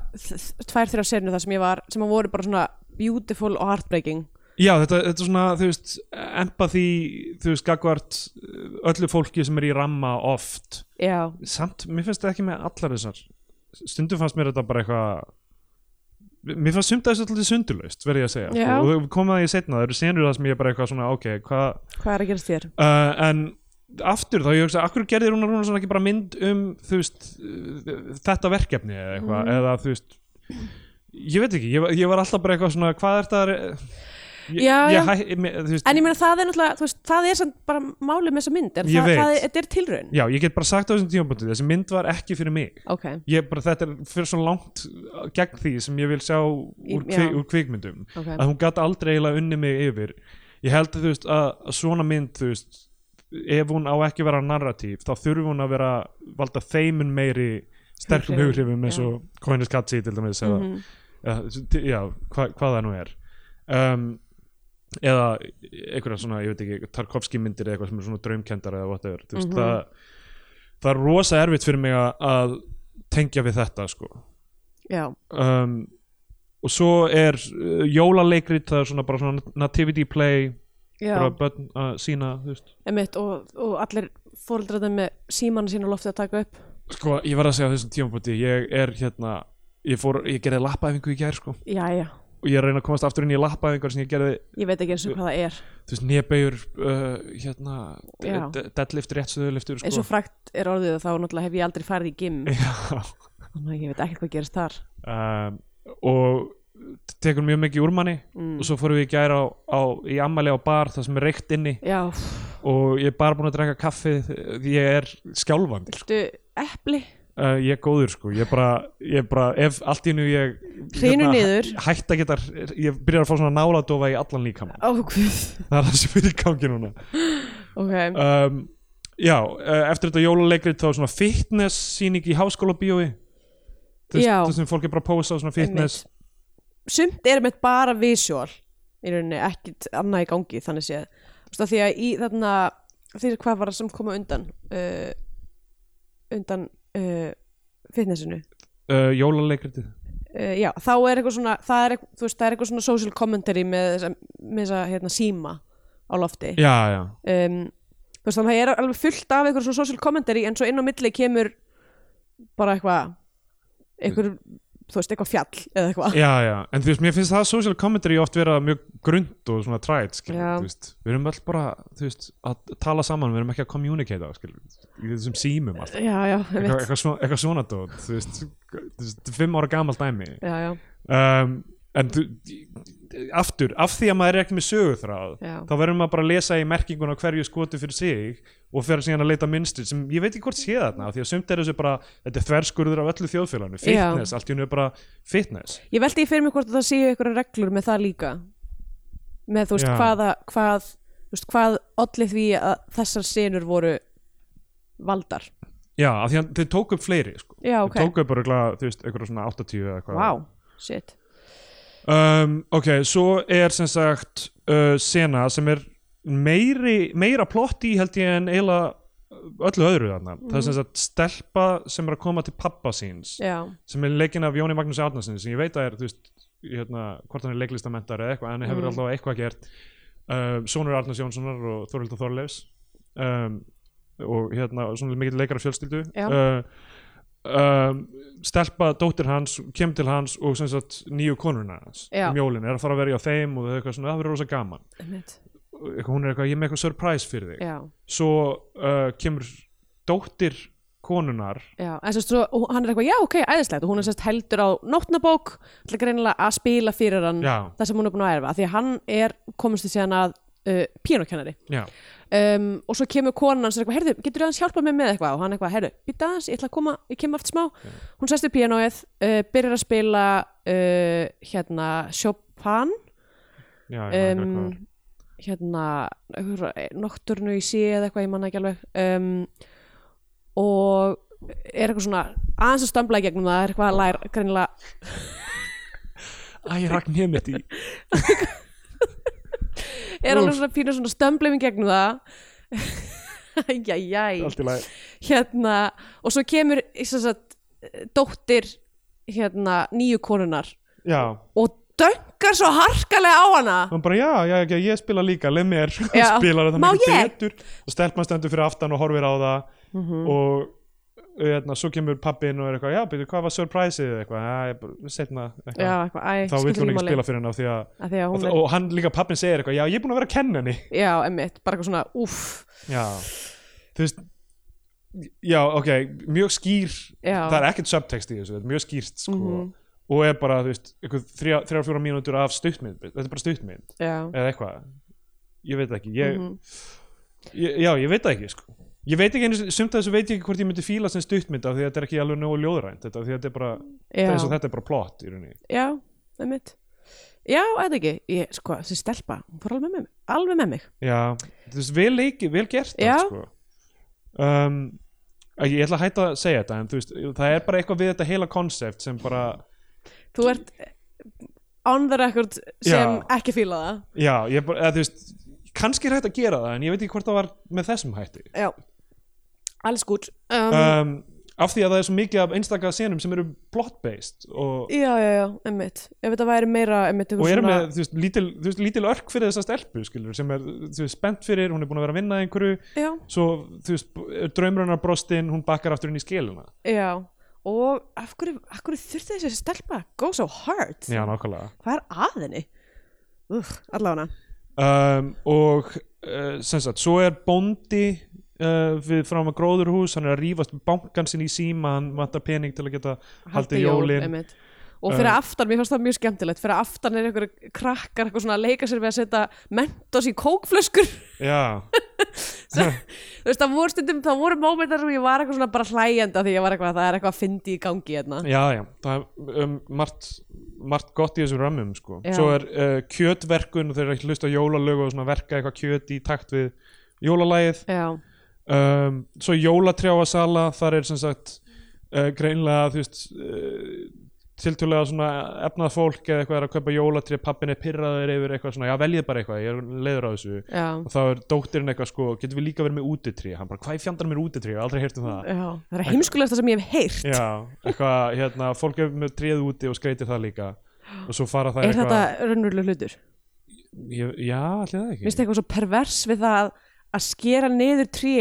tvær þrjá senu það sem ég var sem að voru bara svona beautiful og heartbreaking Já, þetta, þetta er svona, þú veist, empathy, þú veist, gagvart öllu fólki sem er í ramma oft. Já, Samt, mér finnst þetta ekki með allar þessar. Stundum fannst mér þetta bara eitthvað, mér fannst sumt að þessu alltaf sundurlaust, verði ég að segja. sko. Já. Og við komum að ég setna, það eru senur það sem ég er bara eitthvað svona, ok, hvað, hvað er að gerast þér? uh, en aftur þá ég hugsa, akkur gerðir hún hún svona ekki bara mynd um þú veist, uh, þetta verkefni eða eitthvað, Mm. eða þú veist ég veit ekki, ég, var- ég var alltaf bara eitthvað svona, hvað er þetta ég, Já, já. ég, hæ- me- þú veist, En ég meina það er náttúrulega, þú veist, það er samt bara málið með þessa mynd, er Ég það, veit. það er, þetta er tilraun já, ég get bara sagt á þessum tímapunktu þessi mynd var ekki fyrir mig Ok, ég bara, þetta er fyrir svo langt gegn því sem ég vil sjá úr, Í- kvi, já. úr kvikmyndum ok, að hún gæti aldrei eiginlega unni mig yfir ég held að, þú veist, að að svona mynd þú veist, ef hún á ekki að vera narratív þá þurfi hún að vera valda þeimun meiri sterkum Hughrifum, hughrifum eins já. og Coiners Katsi til dæmis eða, Mhm. eða, já, hva, hvað það nú er um, eða einhverja svona, ég veit ekki, Tarkovski myndir eða eitthvað sem er svona draumkendar eða whatever, þú veist, Mhm. það það er rosa erfitt fyrir mig að, að tengja við þetta sko já, um, og svo er uh, jólaleikrit, það er svona bara svona nativity play, já, bara börn að sína, þú veist emitt og, og allir fóreldrarnir með símanu sína á lofti að taka upp sko, ég var að segja á þessum tímapunkti, ég er hérna ég fór, ég gerði lappaæfingu í gær sko já, já, og ég er að reyna að komast aftur inn í lappaæfingar sem ég gerði, ég veit ekki eins og hvað það er þú veist, nebegjur uh, hérna, Já. d- d- deadlift rétt söðuliftur, eins sko og frækt er orðið þá náttúrulega hef ég aldrei farið í gym Já. þannig að ég veit ekkert hvað gerist þar um, og tekur mjög mikið úr manni Mm. og svo fórum við í gær á, á, í ammæli á bar, það sem er reykt inni já, og ég er bara búin að drenga kaffi því ég er skjálfandi sko. viltu epli uh, ég er góður sko, ég er bara, ég er bara ef allt í nú ég Hrynur niður. hætt að geta, ég byrjar að fá svona náladofa í allan líkamann, ó, guð, það er það sem er í gangi núna ok um, já, uh, eftir þetta jólaleikrit þá er svona fitness síning í háskóla bíói Já. þess sem fólk er bara að pósa á svona fitness Einmitt. sumt er með bara visual í rauninni ekkit annað í gangi þannig séð Þú veist, af því að í þarna því hvað var það sem koma undan uh, undan uh, fitnessinu uh, jólaleikritið uh, já, þá er eitthvað svona það er eitthvað, þú veist, það er eitthvað svona social commentary með þessa, með þessa hérna, síma á lofti já, já, um, þú veist, þannig að það er alveg fullt af eitthvað svona social commentary en svo inn á milli kemur bara eitthvað eitthvað, þú veist, eitthvað fjall eða eitthvað já, já en þú veist, mér finnst það social commentary oft vera mjög grund og svona træt, skilur, Já. þú veist við erum öll bara, þú veist, að tala saman við erum ekki að communicata, skilur í þessum símum alltaf, já, já, ég eitthvað, eitthvað, svona- eitthvað svona dót, þú veist, þú veist, þetta er fimm ára gamalt dæmi já, já, um, en þú, aftur, af því að maður er ekki með söguþráð Já. þá verður maður bara að lesa í merkinguna á hverju skotu fyrir sig og fer síðan að leita minnstur sem ég veit ekki hvort sé þarna af því að sumt er þessu bara, þetta er þverskurður af öllu Já. þjóðfélaginu, fitness, allt í hennu er bara fitness ég veldi ég fyrir mig hvort að það séu eitthvað reglur með það líka með þú veist Já. hvaða hvað, þú veist, hvað olli því að þessar senur voru valdar já, af því að þau tók upp fleiri sko. já, ok, þau tók upp bara, þú veist, einhverja svona 80 eða eitthvað wow, shit um, ok, svo er sem sagt uh, sena sem er meiri, meira plott í held ég en eiginlega öllu öðru þarna það er Mhm. sem sagt stelpa sem er að koma til pappa síns já, sem er leikinn af Jóni Magnús Árnarsinni sem ég veit að er, þú veist, hérna, hvort hann er leiklistamentar eða eitthvað, en hann hefur Mm. alltaf eitthvað gert um, Sónur Arnars Jónssonar og Þorildur Þorleifs um, og hérna, svona mikill leikar af fjölskyldu Já. uh, um, stelpa dóttir hans, kem til hans og sem sagt nýju konurna hans Já. um jólin, er að fara að vera hjá þeim og þau eitthvað svona, það verður rosa gaman einmitt, eitthvað, hún er eitthvað, ég er með eitthvað surprise fyrir þig já, svo uh, kemur dóttir konunar já en sérst svo, og hann er eitthvað, já, ok, æðislegt og hún er sérst heldur á nótnabók ætla greinilega að spila fyrir hann já, það sem hún er búin að erfa, af því að hann er komist í síðan að uh, píanokennari já, um, og svo kemur konan hans og er eitthvað, heyrðu, getur þú aðeins hjálpað mér með eitthvað og hann eitthvað, heyrðu, býta aðeins, ég ætla að koma ég kem aftur smá, hún sest upp pianoið uh, byrjar að spila uh, hérna, Chopin já, já um, eitthvað. hérna einhver- nokturnu í sí eða eitthvað, ég manna ekki alveg um, og er eitthvað svona aðeins að stömbla í gegnum það, er eitthvað að læra greinilega, Æ, ég rakk nefn mitt í er alveg svona pínu svona stömblim í gegnum það Jæjæj allt í lagi hérna, og svo kemur sem sagt, dóttir hérna, nýju konunar Já, og döngar svo harkalega á hana hann bara, já, já, já, ég spila líka, leið mér Já. spilar þetta Má mikið ég? Mhm. betur og stelpan stendur fyrir aftan og horfir á það og hérna, svo kemur pappin og er eitthvað, já, byrju, hvað var surpriseið eða eitthvað, já, ég bara, setna eitthvað. já, eitthvað, æ, þá skiptir vill hún ekki ekki máli spila fyrir henn af því að að því að og, hún þa- er, og hann líka pappin segir eitthvað, já, ég er búin að vera að kenna henni já, emmitt, bara eitthvað svona úff, já, þú veist já, ok, mjög skýr Já. það er ekkert subtext í þessu, þetta er mjög skýrt sko, Mhm. og er bara, þú veist, eitthvað þrjá- þrjár, fjórar mínútur af stuttmynd, þetta er bara stuttmynd já, eða eitthvað ég veit það ekki ég, Mhm. ég, já, ég veit það ekki sko. ég veit ekki, einu sinni- sumt að þessu veit ég ekki hvort ég myndi fíla sem stuttmynd af því að þetta er ekki alveg nógu ljóðrænt þetta, af því að þetta er bara, þetta er eins og já, þetta er bara plott í rauninni já emmitt já, eitthvað ekki, ég, sko, þessi stelpa hún fór alveg með mig, alveg með mig já, þú veist, vel leiki, vel gert Já. allt, sko. um, að ég ætla að hætta að segja þetta en þú veist, það er bara eitthvað við þetta heila konsept sem bara, þú ert on the record sem Já. ekki fíla það já, ég bara, eða, þú veist kannski er hægt að gera það en ég veit ekki hvort það var með þessum hætti Já Alles gut um, um, af því að það er svo mikið af einstaka senum sem eru plot based og, Já, já, já, emmitt Ef þetta væri meira, emmitt og eru með þú veist, lítil, þú veist, lítil örk fyrir þessa stelpu skilur, sem er þú veist, spennt fyrir, hún er búin að vera að vinna að einhverju Já, svo þú veist, er draumrunnar brostinn hún bakkar aftur inn í skiluna já Og af hverju, af hverju þurfti þessi stelpa Go so hard já, nákvæmlega Hvað er að henni? Úf, allána um, og uh, sem sagt, svo er bóndi uh, við fram að gróðurhús hann er að rífast með bankan sinn í síma hann vantar pening til að geta haldið jólin einmitt. Og fyrir aftan, mér fannst það mjög skemmtilegt Fyrir aftan er einhver krakkar eitthvað svona að leika sér við að setja mentos í kókflöskur já, Þú veist, það voru stundum, það voru mómentar sem ég var eitthvað svona bara hlægjenda því ég var eitthvað, það er eitthvað að fyndi í gangi hérna já, já það er um, margt, margt gott í þessum rammum sko. Já. svo er uh, kjötverkun og þeir eru að hlusta á jólalög og svona verka eitthvað kjöt í takt við jólalagið Já, um, svo jólatrjáasala þar er sem sagt uh, greinlega þú veist uh, tiltölulega svona efnað fólk eða eitthvað er að kaupa jólatrí, pappin er pyrraður yfir eitthvað svona, já veljið bara eitthvað, ég er leiður á þessu já, og þá er dóttirinn eitthvað sko, getum við líka verið með útitrý hann bara, hvað í fjandar mér útitrý, ég hef aldrei heyrt um það já Það er heimskulegasta sem ég hef heyrt já, eitthvað, hérna, fólk er með tréð úti og skreytir það líka og svo fara það Er þetta raunveruleg hlutur? ég, já, allir það ekki Minnst eitthvað svo pervers við það að skera niður tré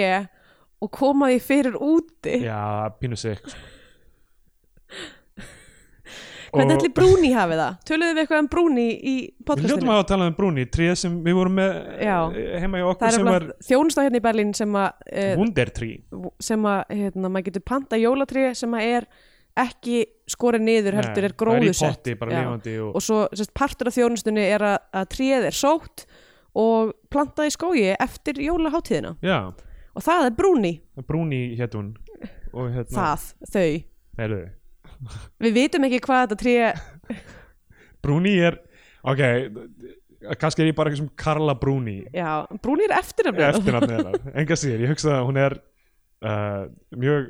og koma því fyrir úti já, pínu sig sko. Hvernig Og- ætli Brúni hafi það? Töluðu við eitthvað um Brúni í Við hljótum podcastinu? að hafa talað um Brúni, tríð sem við vorum með Já. eh, heima í Það okkur er sem var alveg þjónusta hérna í Berlín sem að, eh, Wundertrý sem að hérna, maður getur panta jólatré sem að er ekki skorið niður heldur er gróðusett Það er í potti, bara Já. lífandi og, og svo sérst, partur af þjónustunni er að, að tréð er sótt og plantað í skógi eftir jólaháttíðina Já, og það er brúni, Brúni hétt hún og hérna, það, þau heyrðu við vitum ekki hvað þetta tré Brúni er, ok kannski er ég bara eitthvað sem Karla Brúni já, brúni er eftirnafni eftirnafni hennar, enga síður, ég hugsa að hún er uh, mjög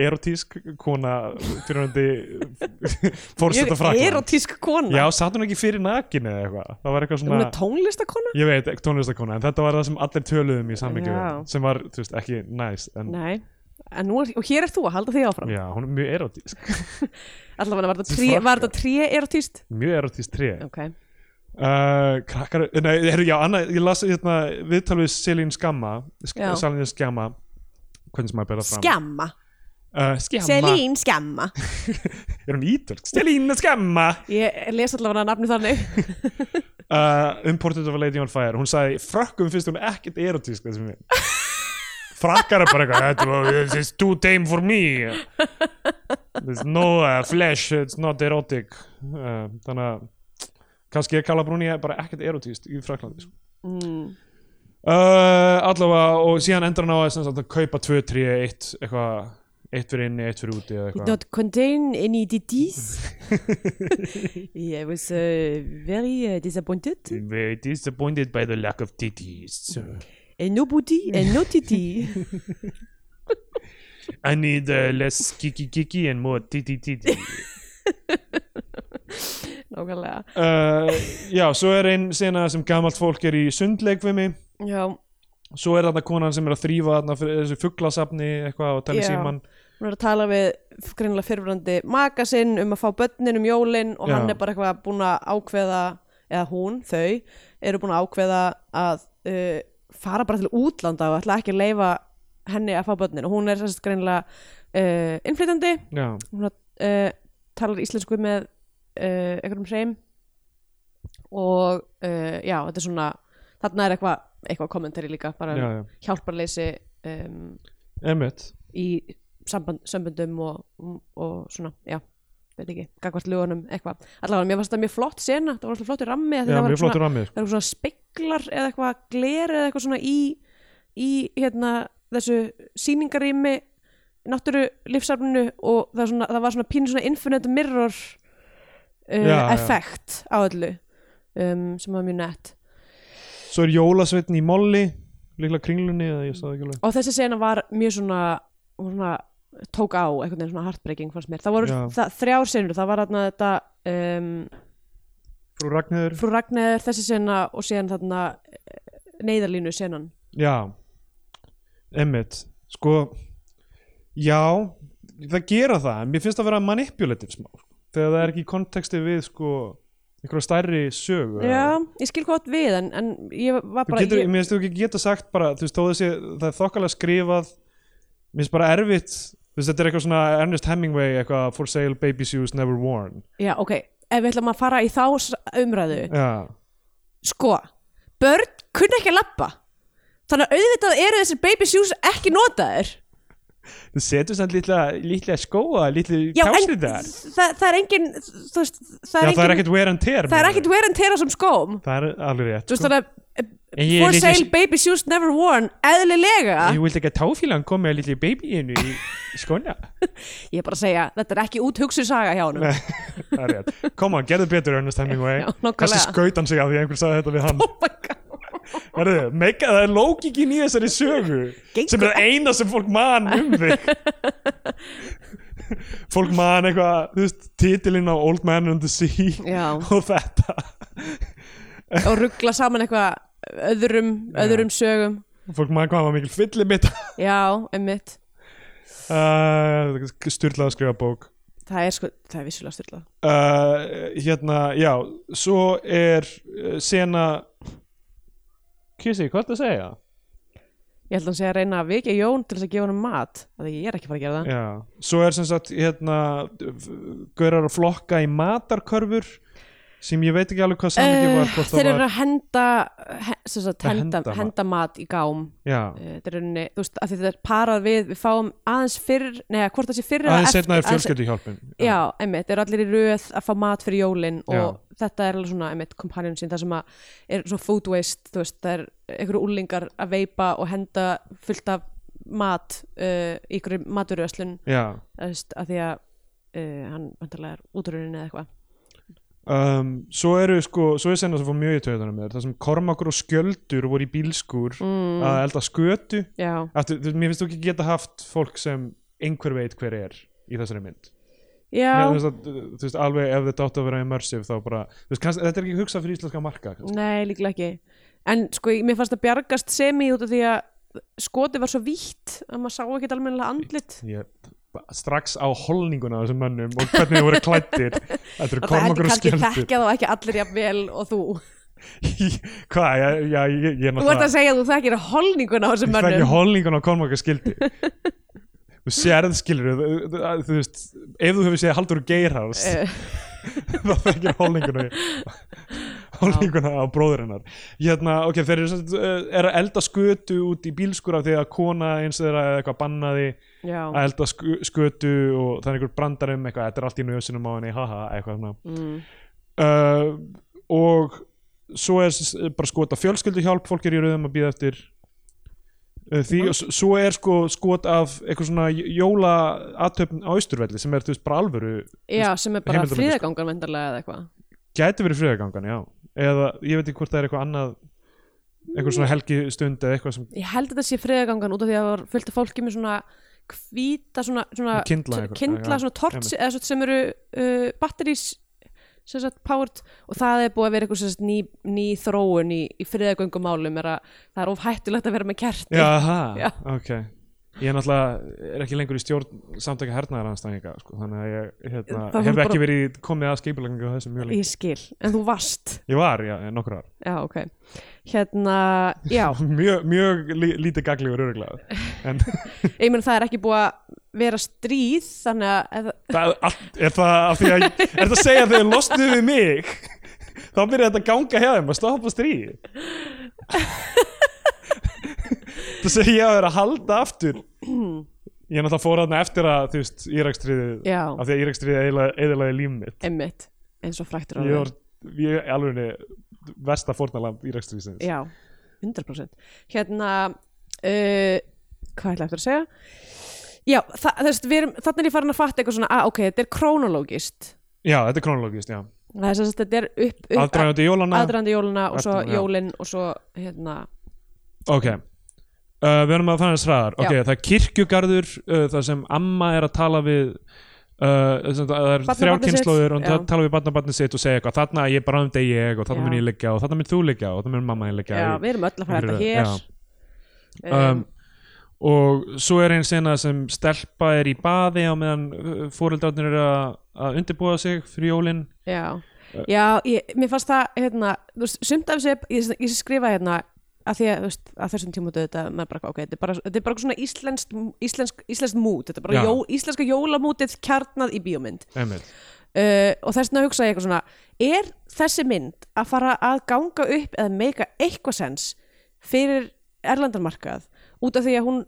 erotísk kona fyrirhundi ég fórsetta er frakla erotísk kona Já, satt hún ekki fyrir nakin eða eitthvað það var eitthvað svona hún er tónlistakona Ég veit, tónlistakona, en þetta var það sem allir töluðum í samlingu, Já. sem var, þú veist, ekki næs, en Nei. En nú er, og hér er þú að halda því áfram já, hún er mjög erotísk, allavega var þetta Þessi tré, frakka. var þetta tré erotíst mjög erotísk tré. ok, Uh, krakkar, nei, heru, já, annað, ég las hérna, viðtal við Selín Skamma, Já. Selín Skamma, hvernig sem maður bera fram. skemma Uh, skemma. Selín skemma Er hún ítölk? Selín Skamma! ég les allavega nafni þannig Uh, um Portrait of a Lady on Fire, hún sagði, frökkum finnst hún ekkert erotísk þessum við. Frakkar er bara eitthvað, "Þetta var- this is too tame for me. There's no uh, flesh, it's not erotic. Uh, þannig að kannski er Kala Bruni bara ekkert erotíst í Fraklandi. Sko. mm. Uh, allavega, og síðan endur hann á að, sem sagt, að kaupa 2, 3, 1, eitthvað, eitt fyrir inni, eitt fyrir úti Did eða eitthvað. not contain any DDs. yeah, I was uh, very uh, disappointed. Very disappointed by the lack of titties. And nobody, and no TT. I need uh, less kiki kiki and more titty titty. Nákvæmlega. uh, já, svo er einn sena sem gamalt fólk er í sundleikvimi Já, svo er þarna konan sem er að þrýfa þarna fyrir þessu fugglasafni eitthvað og tala í Já. síman hún er að tala við f- greinilega fyrirverandi maka sinn um að fá börnin um jólin og Já. hann er bara eitthvað búin að ákveða, eða hún, þau, eru búin að ákveða að uh, fara bara til útlanda og ætla ekki að leifa henni að fá börnin. Og hún er sérst greinilega uh, innflytjandi já, hún uh, talar íslensku með uh, einhverjum hreim og uh, já, þetta er svona þarna er eitthvað eitthva kommentari líka bara já, um já, hjálparleysi um, emitt í samband, samböndum og, og svona, já veit ekki, gagvart lögunum, eitthvað allavega, mér fannst þetta mjög flott sena, það var alltaf flottur rammi af því já, það var mjög eitthvað svona, flottur rammið sko. það var svona speklar eða eitthvað gler eða eitthvað svona í í hérna þessu sýningarými náttúru lífsafninu og það, var svona, það var svona pínu svona infinite mirror uh, já. effekt á öllu um, sem var mjög nett svo er jólasveitn í molli líklega kringlunni eða ég staði ekki alveg og þessi sena var mjög svona, hún svona tók á einhvern veginn svona heartbreaking fannst mér það voru Já. það, þrjár senur, það var þarna þetta um, frú Ragnhöður, frú Ragnæður þessi sena og síðan þarna eh, neyðarlínu senan já emitt, sko Já, það gera það en mér finnst það að vera manipulative smá sko. þegar það er ekki í konteksti við sko, einhverja stærri sögu Já, ég skil hvað átt við en, en ég var Þú bara getur, ég, mér finnst þú ekki geta sagt bara, þú veist, þó þessi, það er þokkalega skrifað mér finnst bara erfitt þú veist, þetta er eitthvað svona Ernest Hemingway eitthvað for sale baby shoes never worn Já, ok, ef við ætlum að fara í þá s- umræðu Já, Sko, börn kunna ekki að labba Þannig að auðvitað eru þessir baby shoes ekki notaðir þú setur samt lítlega, lítlega skóa, lítlega Já, en kásið það, þar það er engin þú veist, það Já, er engin, það er ekkert wear and það tear er meinar ekkit wear and tear á sem skóm þú. Það er alveg rétt Þú veist þannig að eh, En ég er For líka- sale baby shoes never worn Eðlilega Ég vildi ekki að táfílan komi að lítlega babyinu í í skóna Ég er bara að segja, þetta er ekki út hugsu saga hjá honum Það er rétt. Come on, gerðu betur Ernest Hemingway Já, nákvæmlega. Þessi skaut hann sig á því að einhver sagði þetta við hann Oh my god Verðu, meika, það er lókikin í þessari sögu Gengur sem er það eina sem fólk man um þig Fólk man eitthvað, þú veist, titilinn á Old Man and the Sea Já. og þetta Og ruggla saman eitthvað öðrum, öðrum sögum Fólk man hvað hann var mikil fyllibitt Já, einmitt uh, Sturlað að skrifa bók Það er sko, það er vissulega styrlað uh, Hérna, já, svo er uh, sena Kissi, hvað ertu að segja? Ég held að hann segja að reyna að vikja Jón til þess að gefa honum mat Það ég er ekki fara að gera það Já, svo er sem sagt hérna, gaurar að flokka í matarkörfur sem ég veit ekki alveg hvað samingi Eh, var hvort Þeir það eru var, að henda he, sem sagt, Að henda, henda mat. henda mat í gám já, Eh, Þetta er rauninni, þú veist, að þetta er parað við Við fáum aðeins fyrr, neða, hvort það sé fyrr eða aðeins eftir- setna er aðeins- fjölskyldu hjálpin Já, einmitt, eru allir í röð að fá mat fyrir jólin og Já. þetta er alveg svona, einmitt, kompanjón sín það sem að er svona food waste, þú veist það er einhverju úlingar að veipa og henda fullt af mat uh, í einhverju maturöslun já. þú veist, að því að uh, hann vantarlega er útrunnin eða eitthvað Um, svo eru sko, svo er sena sem fór mjög í töðunum með það sem kormakur og skjöldur voru í bílskur Mm. að elda skötu Já, Aftur, þú, mér finnst þú ekki geta haft fólk sem einhver veit hver er í þessari mynd já, Mér finnst að, þú veist, alveg ef þetta átt að vera immersive þá bara, þú veist, kannski, þetta er ekki hugsað fyrir íslenska marka kannski. nei, líklega ekki en sko, mér fannst það bjargast semi út af því að skoti var svo vítt að maður sá ekkert almennilega andlit ég, strax á holninguna á þessum mönnum og hvernig þau voru klættir Þetta eru og það hefði kormakur og kannski skjöldur þekkað og ekki allir jafn vel og þú Hvað, já, já, ég, ég er Þú ert að náttúrulega segja að þú þekkir holninguna á þessum Ég mönnum þekki holninguna og kormakur skildi Þú sérð skilur þú, þú, þú veist, ef þú hefur séð Haldur Geirhals Eh. þá þekkir holninguna holninguna á bróður hennar hérna, ok, þeir eru sem sagt, eh, eru að elda skötu út í bílskur af því að kona eins þeirra eða eitthvað bannaði Já, að elda sku- skötu og það er einhver brandar um eitthvað, þetta er allt í nöðsunum á henni haha, eitthvað svona mm. uh, og svo er s- bara skot af fjölskylduhjálp fólk er í rauðum að býða eftir uh, því og s- svo er sko skot af eitthvað svona jóla aðtöfn á Ísturvelli sem er þú veist bara alvöru já sem er bara Heimildamynd, sko. fríðagangan vendarlega eða eitthvað gæti verið friðagangan, já eða ég veit ekki hvort það er eitthvað annað eitthvað svona helgistund eða eitthvað sem Ég held að þetta sé fríðagangan út af því að það var fullt af fólki með svona hvíta svona, svona Með kyndla einhverja, já, kindla svona tort einmitt. eða svona sem eru uh, batterís sem sagt powered og það er búið að vera eitthvað sem sagt ný, ný þróun í, í friðagöngumálum er að það er of hættulegt að vera með kerti Jaha, Já. ok Ég er náttúrulega er ekki lengur í stjórn samtaka hernaðaranstæðinga sko, þannig að ég hérna, Það hef voru ekki bara- verið komið að skeipulegningu þessu mjög lengi Ég skil, en þú varst Ég var, já, nokkur ár Já, ok Hérna, já Mjög, mjög lí, lítið gagliður öruglega En Ég meina það er ekki búið að vera stríð þannig að ef- það, allt, er það af því að er það að segja að þau losnuðu við mig þá byrja þetta að ganga hjá þeim að stoppa stríð Það segja ég að vera að halda aftur Ég er náttúrulega fór þarna eftir að þú veist, Írakstriðið Já. af því að Írakstriðið eðilaði líf mitt einmitt eins og fræktur ég var ég, alveg niður versta fórnalamb Íraksstríðsins Já, 100% Hérna uh, Hvað ætla eftir að segja? Já, þa þess, erum, þannig er ég farin að fatta eitthvað svona að ok, þetta er krónológist já, þetta er kronologist, já það er sem sagt, þetta er upp, upp aðdragandi jólana, aðdragandi jóluna og svo Eftir, já. jólin og svo hérna ok uh, við erum að fara þess hraðar, ok, Já. það er kirkjugarður uh, það sem amma er að tala við Uh, sem, það er Barnabarnið þrjá sitt, kynnslóður og já. það tala við barnabarnið sitt og segja eitthvað þarna ég bara um deg ég og þarna Já. mun ég liggja og þarna mun þú liggja og þarna mun mamma ég liggja já, í- við erum öll að fara einhverju- þetta hér já. um, og svo er einn sena sem stelpa er í baði á meðan fóreldrarnir eru að- að undirbúa sig fyrir jólin Já, já ég, mér fannst það hérna, þú veist, sumt af þessu ég, ég skrifa hérna að því að, þú veist, að þessum tímútu þetta, maður bara, ok, þetta er bara, þetta er bara svona íslensk, íslensk, íslensk mút, þetta er bara Já. jó, íslenska jólamútið kjarnað í bíómynd Einmitt. uh, og þess vegna hugsaði ég eitthvað svona er þessi mynd að fara að ganga upp eða meika eitthvað sens fyrir erlendarmarkað út af því að hún,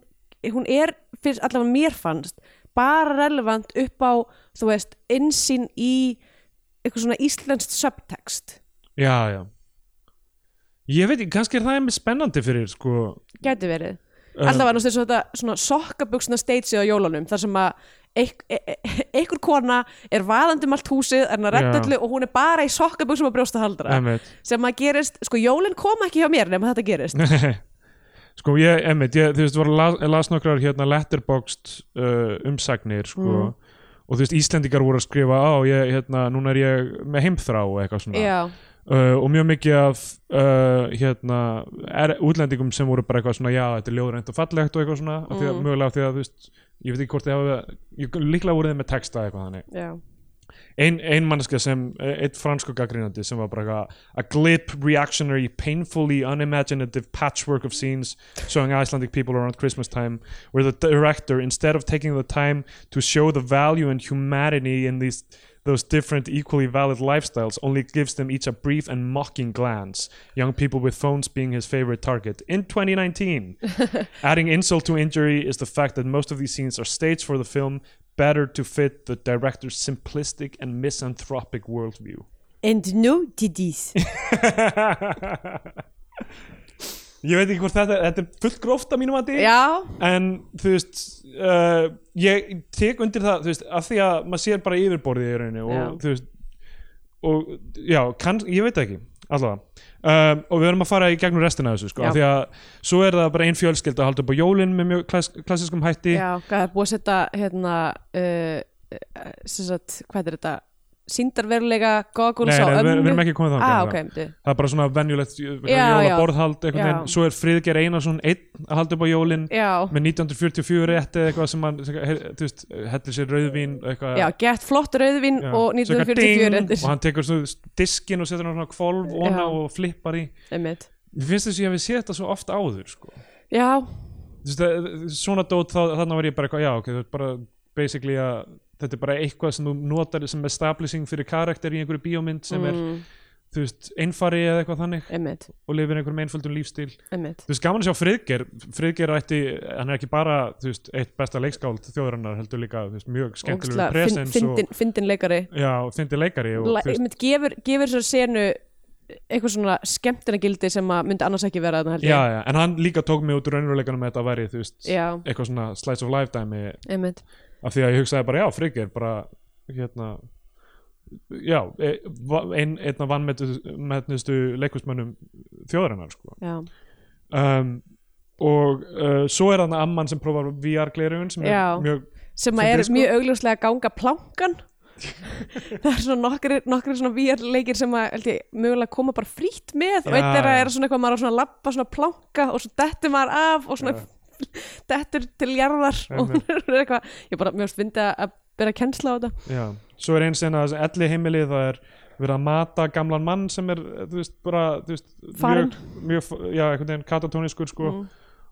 hún er fyrir allavega mér fannst bara relevant upp á þú veist insýn í eitthvað svona íslenskt subtext já, já ég veit ekki, kannski er það einmitt spennandi fyrir sko, gæti verið allavega náttúrulega svo þetta svona sokkabugsna stageið á jólunum þar sem að eik- e- e- einhver kona er vaðandi um allt húsið, er hann að Já. redda öllu og hún er bara í sokkabugsum að brjósta haldra einmitt sem að gerist, sko jólin koma ekki hjá mér nema þetta gerist sko ég, emmitt, ég, þú veist, var að las, las nokkrar hérna letterboxd uh, umsagnir, sko og þú veist, Íslendingar voru að skrifa á ég, hérna, núna er ég með heimþrá og eitthvað svona já, uh, og mjög mikið af uh, hérna, er, útlendingum sem voru bara eitthvað svona, já, þetta er ljóðrænt og fallegt og eitthvað svona, mm. því að, mögulega af því að, þú veist ég veit ekki hvort þið hafa, ég, líklega voru þið með texta eitthvað þannig já, ein, ein mannska sem, e, eitt fransku gaggrínandi sem var bara eitthvað, a glip reactionary, painfully unimaginative patchwork of scenes showing Icelandic people around Christmas time where the director, instead of taking the time to show the value and humanity in these those different equally valid lifestyles only gives them each a brief and mocking glance young people with phones being his favorite target in 2019 adding insult to injury is the fact that most of these scenes are staged for the film better to fit the director's simplistic and misanthropic worldview. and no didis ég veit ekki hvort þetta, þetta er fullt gróft að mínum að því já, en þú veist uh, ég tek undir það þú veist, af því að maður sér bara yfirborðið í rauninu og Já. þú veist og já, kann, ég veit það ekki allavega, um, og við erum að fara í gegnum restina af þessu sko, Já. af því að svo er það bara ein fjölskylda að halda upp á jólin með mjög klass, klassiskum hætti já, hvað er búið að setja hérna uh, uh, sem sagt, hvað er þetta síndarveruleika nei, goggles nei, á við, ömmu við erum ekki komið þá ah, ok, myndi það er bara svona venjulegt Já, já. jólaborðhald einhvern Já. veginn, svo er Friðger Einarsson einn að halda upp á jólin já, með 1944 rétti eða eitthvað sem hann sem- he- þú veist, hellir sér rauðvín eitthvað, já, gett flott rauðvin Já. og Svo eitthvað ding, 1944 og hann tekur svona diskin og setur hann svona kvolf óna Já. og flippar í einmitt. mér finnst þess að ég hefði séð þetta svo oft áður sko. já, Þú veist, það- svona dót þá, þannig var ég bara eitthvað já ok, þetta er bara basically að þetta er bara eitthvað sem þú notar sem establishing fyrir karakter í einhverju bíómynd sem er, mm, þú veist, einfari eða eitthvað þannig einmitt, og lifir einhverjum einföldum lífstíl einmitt þú veist, gaman að sjá Friðger Friðger ætti, hann er ekki bara þú veist, eitt besta leikskáld þjóðurinnar heldur líka þú veist, mjög skemmtilegur presens fyndin, fyndin leikari og já, fyndi leikari og, La, þú veist, einmitt, gefur, gefur svo senu eitthvað svona skemmtina gildi sem að myndi annars ekki vera þarna held já, ég já, en hann líka tók mig út úr raunveruleikanum að þetta væri, þú veist, Já. eitthvað svona slice of life dæmi, einmitt af því að ég hugsaði bara, já, Friðger bara, hérna já, e- va- ein, einn af vannmetnustu leikusmönnum þjóðurinnar, sko Já, um, og uh, svo er hann amman sem prófar VR-glerugun sem er Já. mjög sem Sem að er disko? mjög augljóslega að ganga plankan það er svona nokkri, nokkri svona VR-leikir sem að held ég, mögulega koma bara frýtt með og Já, eitt er að já. er svona eitthvað maður á svona lappa svona planka og svo dettur maður af og svona dettur til jarðar og Einmitt. hún er eitthvað ég bara mjög fyndi að bera kennsla á þetta Já, svo er eins en að elli heimili það er verið að mata gamlan mann sem er, þú veist, bara þú veist, Farinn. Mm. mjög, mjög, já, einhvern veginn katatóniskur sko,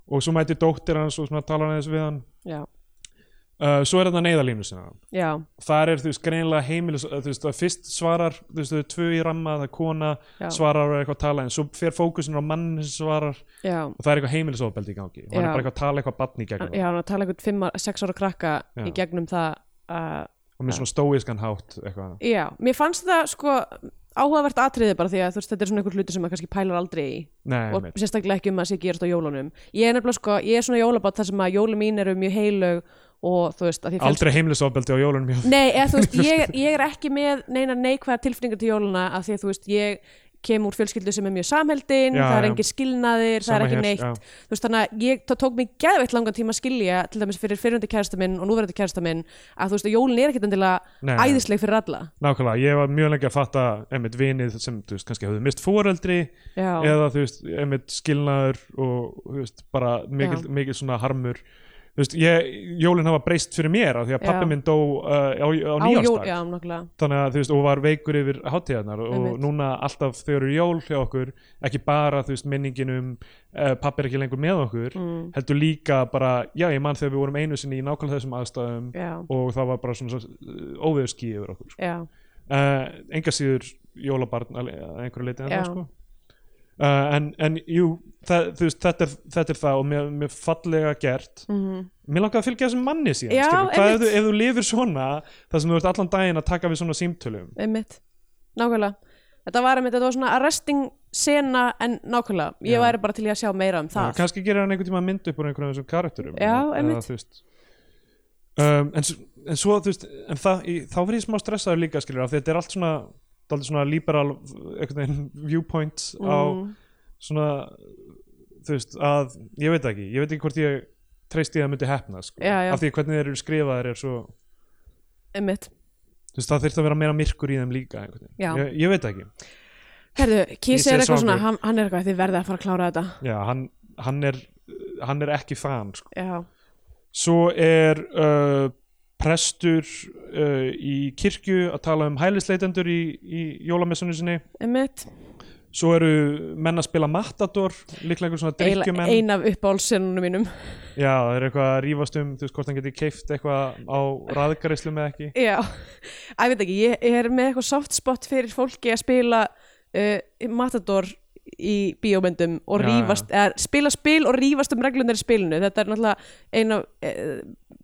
og svo mæti dóttir hans og svona talar hann eða við hann Já, uh, svo er þetta neyðarlínu sinna já, þar er, þú veist, greinilega heimili þú veist, það fyrst svarar, þú veist, þau eru tvö í ramma það er kona, Já. svarar og er eitthvað að tala en svo fer fókusin á mann sem svarar og já það er eitthvað heimilisofbeldi í gangi og hann Já. er bara eitthvað að tala eitthvað batni í gegnum það Já, hann er að tala einhvern fimm, ára- sex ára krakka Já. í gegnum það að og með svona stóiskan hátt eitthvað Já, mér fannst það sko áhugavert atriði bara því að þú veist, þetta er svona einhver hluti sem maður kannski pælar aldrei í Nei, og einmitt. sérstaklega ekki um að sé gerast á jólunum ég er nefnilega sko, ég er svona jólabátt þar sem að jólum mín eru mjög heilög og þú veist, að því fjölsk- aldrei heimilisofbeldi á jólunum hjá- Nei, eða, þú veist, ég, ég er ekki með neina neikvæða tilfinningar til jóluna að því að þú veist, ég kem úr fjölskyldu sem er mjög samheldin Já, það er já. engin skilnaðir, það er Sama ekki hér, neitt já. þú veist þannig að ég, það tók mig geðveitt langan tíma að skilja til dæmis fyrir fyrirhundi kærasta minn og núverandi kærasta minn að þú veist að jólin er ekkit Nei, endilega nei. æðisleg fyrir alla nákvæmlega, ég var mjög lengi að fatta einmitt vinið sem, þú veist, kannski hafðu mist fóreldri Já. eða, þú veist, einmitt skilnaður og, þú veist, bara mikil, Já. mikil svona harmur þú veist, ég, jólin hafa breyst fyrir mér af því að Já. pappi minn dó uh, Á á, á jól- nýjársdag já, nákvæmlega. þannig að þú veist, og var veikur yfir hátíðarnar og Einmitt. núna alltaf þau eru jól hjá okkur ekki bara þú veist minningin um uh, pappi er ekki lengur með okkur Mm. heldur líka bara, já ég man þegar við vorum einu sinni í nákvæmlega þessum aðstæðum Já, og það var bara svona óveðurski yfir okkur já, uh, enga síður jólabarn að að einhverju leiti en Já. það sko uh, en, en jú, það, þú veist þetta er, þetta er það og mér, mér fallega gert mhm, Mér langaði að fylgja þessum manni síðan Já, skilurðu. Hvað ef þú, einmitt. ef þú lifir svona þar sem þú ert allan daginn að taka við svona símtölum einmitt Nákvæmlega Þetta var, einmitt, þetta var svona arresting sena en nákvæmlega, ég Já. væri bara til í að sjá meira um Já, það Eh, kannski gerir hann einhvern tíma mynd upp úr einhverjum af þessum karakterum Já, eða- eða einmitt. þú veist. um, en, s- en svo þú veist en það, í, þá verið ég smá stressaður líka skilur af því þetta er allt svona, dálítið svona liberal eh, einhvern veginn viewpoint á Mm. svona þú veist að, ég veit það ekki ég veit ekki hvort ég treysti því að það myndi hefna sko. Já, já. af því hvernig þeir eru skrifaðir er svo einmitt þú veist það þurfti að vera meira myrkur í þeim líka einhvern veginn. Já. ég, ég veit það ekki Herðu, Kiss Kiss er er eitthvað svona, svangur. hann, hann er eitthvað þið verðið að fara að klára þetta Já, hann, hann, er, hann er ekki fan sko. Já, svo er uh, prestur uh, í kirkju að tala um hælisleitendur í, í jólamessunni sinni einmitt svo eru menn að spila matador líklega einhver svona Eiginlega drikkjumenn Ein af uppáhaldsennunum mínum já, það er eitthvað að rífast um þú veist hvort hann geti keift eitthvað á raðgarislu með ekki Já, að ég veit ekki, ég er með eitthvað soft spot fyrir fólki að spila uh, Matador í bíómyndum og Já, rífast, eða spila spil og rífast um reglunar í spilinu, þetta er náttúrulega eina, eh,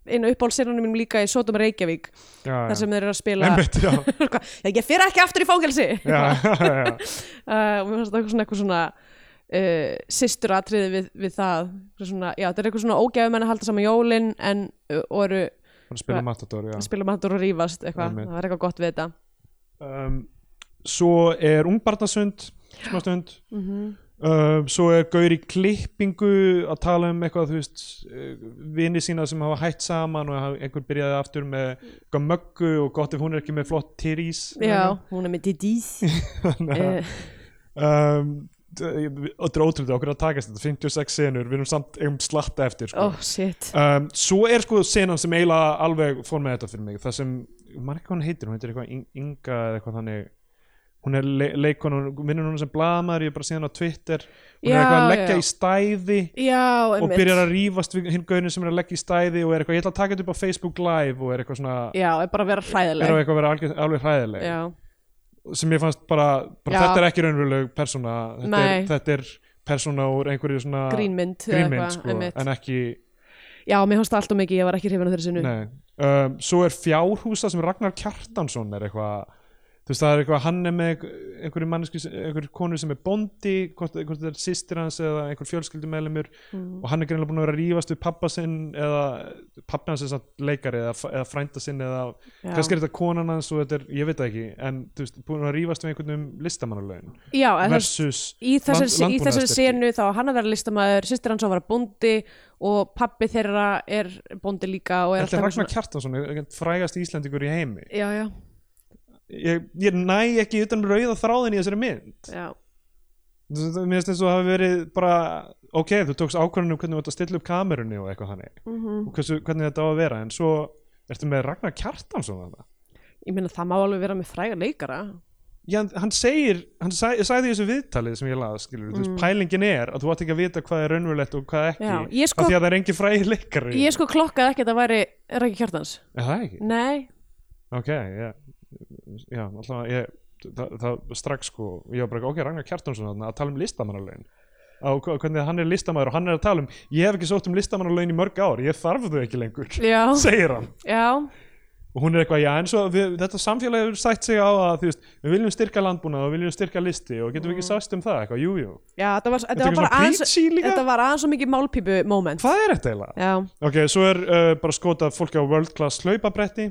eina uppáhaldsinnanum mínum líka í Sodom Reykjavík, já, já. þar sem þeir eru að spila Einmitt, já, Eitthvað, ég fyrir ekki aftur í fangelsi já, já, já. uh, og mér fannst þetta eitthvað svona, eitthvað svona uh, systur atriði við, við það Eitthvað svona, já, þetta er eitthvað svona ógæfum en að halda saman jólin en, uh, og eru Hann spila matador já. að spila matur og rífast eitthvað, Einmitt. það er eitthvað gott við þetta um, svo er ungbarnasund smástund mm Um, svo er Gaur í klippingu að tala um eitthvað, þú veist, eh, vini sína sem hafa hætt saman og hafa- einhver byrjaði aftur með eitthvað möggu og gott ef hún er ekki með flott tyrís. Já, hún er með DDs Þannig að, uh, um, d- ég- og þetta er ótrúlega okkur að takast þetta, 56 senur, við erum samt um slatta eftir. Sko. Oh shit Um, svo er sko senan sem eiginlega alveg fór með þetta fyrir mig, það sem, maður ekki hvað hún heitir, hún heitir eitthvað Ing- Inga eða eitthvað þannig, hún er le leikon, hún vinnur hún sem blaðmaður, ég er bara síðan á Twitter, hún er Já, eitthvað að leggja já. í stæði Já, og byrjar að rífast við hinn gauðinu sem er að leggja í stæði og er eitthvað, ég ætla að taka þetta upp á Facebook live og er eitthvað svona, Já, er bara að vera er á hræðileg eitthvað að vera algjör, alveg hræðileg Já, sem ég fannst bara, bara Já. þetta er ekki raunveruleg persóna, þetta er, Nei. þetta er persóna úr einhverju svona grínmynd eða grínmynd eitthvað, sko, einmitt. en ekki Já, mér hósta alltaf mikið, ég var ekki hrifin á þeirri sinu nei. Um, svo er fjárhúsa sem Ragnar Kjartansson er eitthvað þú veist það er eitthvað hann er með einhverju mannesku, einhverju konu sem er bondi hvort, hvort þetta er sýstir hans eða einhver fjölskyldumeðlumur Mm. og hann er greinlega búin að vera að rífast við pappa sinn eða pappi hans er samt leikari eða, eða frænda sinn eða Já. kannski er þetta konan hans og þetta er, ég veit það ekki en þú veist, búin að rífast við einhvern um listamannulegin Já, en þess, versus í þessari, land- í þessari landbúnaðarstyrki. senu þá var hann að vera listamaður, sýstir hans á að vera bóndi og pappi þeirra er bóndi líka og er Þetta er alltaf Ragnar Kjartansson, einhvern frægast íslendingur í heimi Já, já, ég, ég næ ekki utan rauða þráðin í þessari mynd já, Þú veist, mér finnst eins og það hafi verið bara ok, þú tókst ákvörðunum hvernig þú ætti að stilla upp kamerunni og eitthvað þannig mm og hversu, hvernig þetta á að vera, en svo ertu með Ragnar Kjartansson þarna ég meina það má alveg vera með fræga leikara Já, en hann segir, hann sag, sagði í þessu viðtalið sem ég laði, skilur, þú veist, pælingin er að þú átt ekki að vita hvað er raunverulegt og hvað ekki Mm. Já, ég sko- af því að það er engin fræði leikari Ég sko klokkaði ekki að það væri Rækki Kjartans Er það ekki? Nei, Ok, já, já allavega, ég, það, það strax sko, ég var bara, ok, Ragnar Kjartansson þarna að tala um listamannalaun á hva- hvernig hann er listamæður og hann er að tala um ég hef ekki sótt um listamannalaun í mörg ár ég þarf þau ekki lengur já, segir hann já og hún er eitthvað, já, en svo við, þetta samfélag hefur sætt sig á að, þú veist, við viljum styrka landbúna og við viljum styrka listi og getum við ekki sást um það eitthvað, jú, jú, Já, þetta var, Mm. þetta var bara Þetta eitthvað svona aðeins preachy líka? Þetta var aðeins svo mikið málpípu moment hvað er þetta eiginlega? Já, Ok, svo er uh, bara skotað fólki á world class hlaupabretti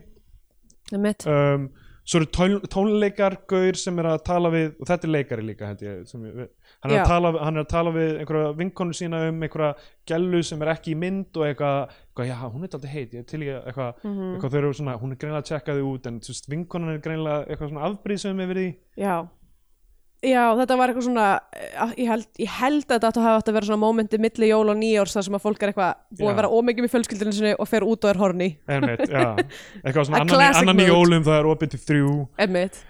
það mitt um, svo eru tón, tónleikargaur sem er að tala við og þetta er leikari líka held ég sem, við- hann, er Já. að tala, hann er að tala við einhverja vinkonu sína um einhverja gælu sem er ekki í mynd og eitthvað, eitthvað já hún er alltaf heit ég er til ég eitthvað, Mhm. Mm. eitthvað þau eru svona hún er greinilega að tjekka þau út en þú veist vinkonan er greinilega eitthvað svona afbrýðsum yfir því Já Já, þetta var eitthvað svona eh, ég held, ég held að þetta átti að hafa átt að vera svona momenti milli jól og nýjórs þar sem að fólk er eitthvað búið Já. að vera ómikið með fjölskyldinu sinni og fer út og er horni, Einmitt, já. eitthvað A svona annan, classic annan í mode. jólum það er opið til þrjú emmitt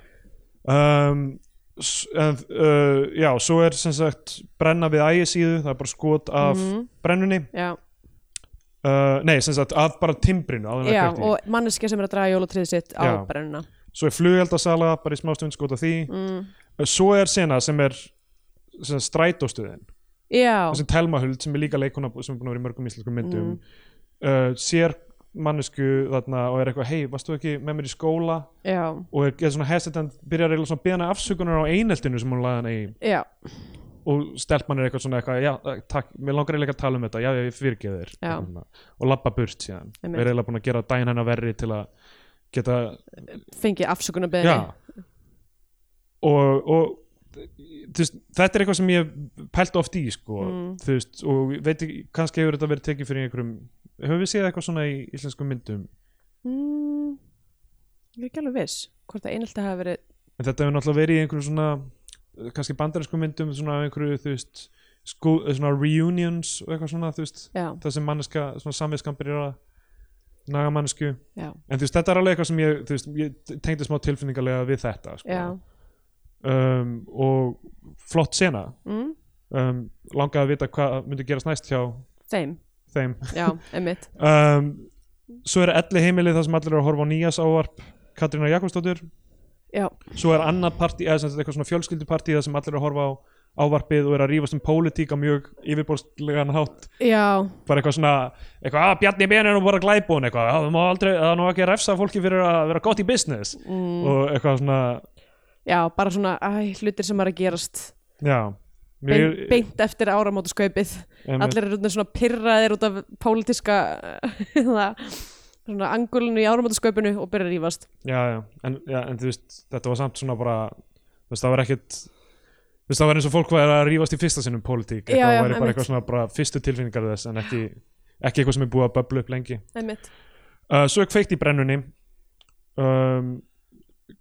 um, s- en, uh, já, svo er sem sagt brenna við ægisíðu, það er bara skot af Mhm. brennunni, Já, uh, nei sem sagt af bara timbrinu, áður en það já er kveikt í. og manneskja sem er að draga jólatriðið sitt á Já. brennuna svo er flugeldasala, bara í smástund skot af því mm. svo er sena sem er sem sagt, strætóstöðin, Já, Mm. þessi Telma Huld sem er líka leikona sem er búin að vera í mörgum íslenskum myndum uh, sér mannesku þarna og er eitthvað, hei, varstu ekki með mér í skóla já, og er, er svona hesitant byrjar eiginlega svona að beðna afsökunar á eineltinu sem hún laði hann í já, og stelpan er eitthvað svona eitthvað já, eh, takk, mér langar eiginlega ekki að tala um þetta já, já, ég fyrirgeð þér Já. Eitthvað svona. og labba burt síðan, Einmitt. við erum eiginlega búin að gera dæn hennar verri til að geta fengið afsökunarbeðni já og, og þú veist, þetta er eitthvað sem ég hef pælt oft í sko, Mm. þú veist, og ég veit ekki, kannski hefur þetta verið tekið fyrir einhverjum höfum við séð eitthvað svona í íslenskum myndum mm, Ég er ekki alveg viss hvort það einhelt að hafa verið en þetta hefur náttúrulega verið í einhverju svona eh, kannski bandarinsku myndum svona af einhverju þú veist sko, eh, svona reunions og eitthvað svona þú veist Já, það sem manneska, svona samviskampi er að naga mannesku en já, þú veist þetta er alveg eitthvað sem ég, þú veist, ég tengdi smá tilfinningalega við þetta sko. já um, og flott sena mm, um, langaði að vita hvað myndi gerast næst hjá Þeim, þeim já, emmitt um, svo er elli heimilið þar sem allir eru að horfa á nýjas ávarp Katrínar Jakobsdóttur Já, svo er annað partí, eða sem þetta er eitthvað svona fjölskyldupartí þar sem allir eru að horfa á ávarpið og eru að rífast um pólitík á mjög yfirborstlegan hátt já, bara eitthvað svona, eitthvað, að Bjarni Ben er nú bara glæbún, eitthvað, að það má aldrei það er nú ekki að refsa fólki fyrir að vera gott í business mm, og eitthvað svona, já, bara svona æ, hlutir sem er að gerast já Bein, beint eftir áramótaskaupið beint, allir eru orðnir svona pyrraðir út af pólitíska eða svona angulinu í áramótaskaupinu og byrja að rífast já, já, en, já, en þú veist þetta var samt svona bara þú veist, það var ekkit þú veist, það var eins og fólk var að rífast í fyrsta sinnum pólitík, Já, eitthvað já, væri bara einmitt. eitthvað svona bara fyrstu tilfinningar þess en ekki, ekki eitthvað sem er búið að böblu upp lengi einmitt, uh, svo er kveikt í brennunni um,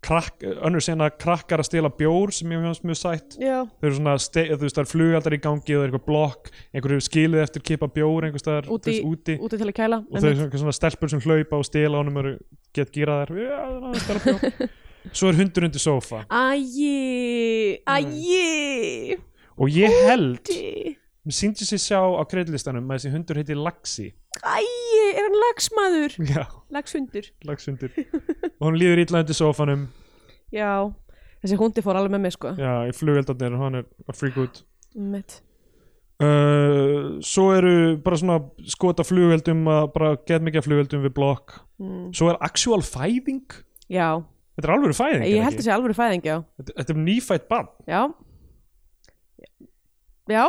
krakk, önnur sena krakkar að stela bjór sem ég fannst mjög sætt já, þau eru svona, ste- þú veist, það er flugaldar í gangi og það er eitthvað blokk, einhverju skilið eftir kipa bjór einhvers staðar, Úti- þú veist, úti úti til að kæla og þau eru einmitt, svona, svona stelpur sem hlaupa og stela honum eru gett gýraðar já, það er aðeins stela bjór svo er hundur undir sófa æji æji og ég held, æji, mér síndi sér sjá á kreidlistanum að þessi hundur heiti Laxi æji, er hann lagsmaður já, lagshundur, Laxhundur og hann líður illa undir sófanum já þessi hundi fór alveg með mig sko já, í flugaldarnir og hann er að freak út einmitt, Uh, svo eru bara svona skota flugveldum að bara get mikið af flugveldum við blokk mm, svo er actual fæðing þetta já, er alveg fæðing ég er held ekki? þessi alveg fæðing, já þetta, þetta er um nýfætt bann Já Já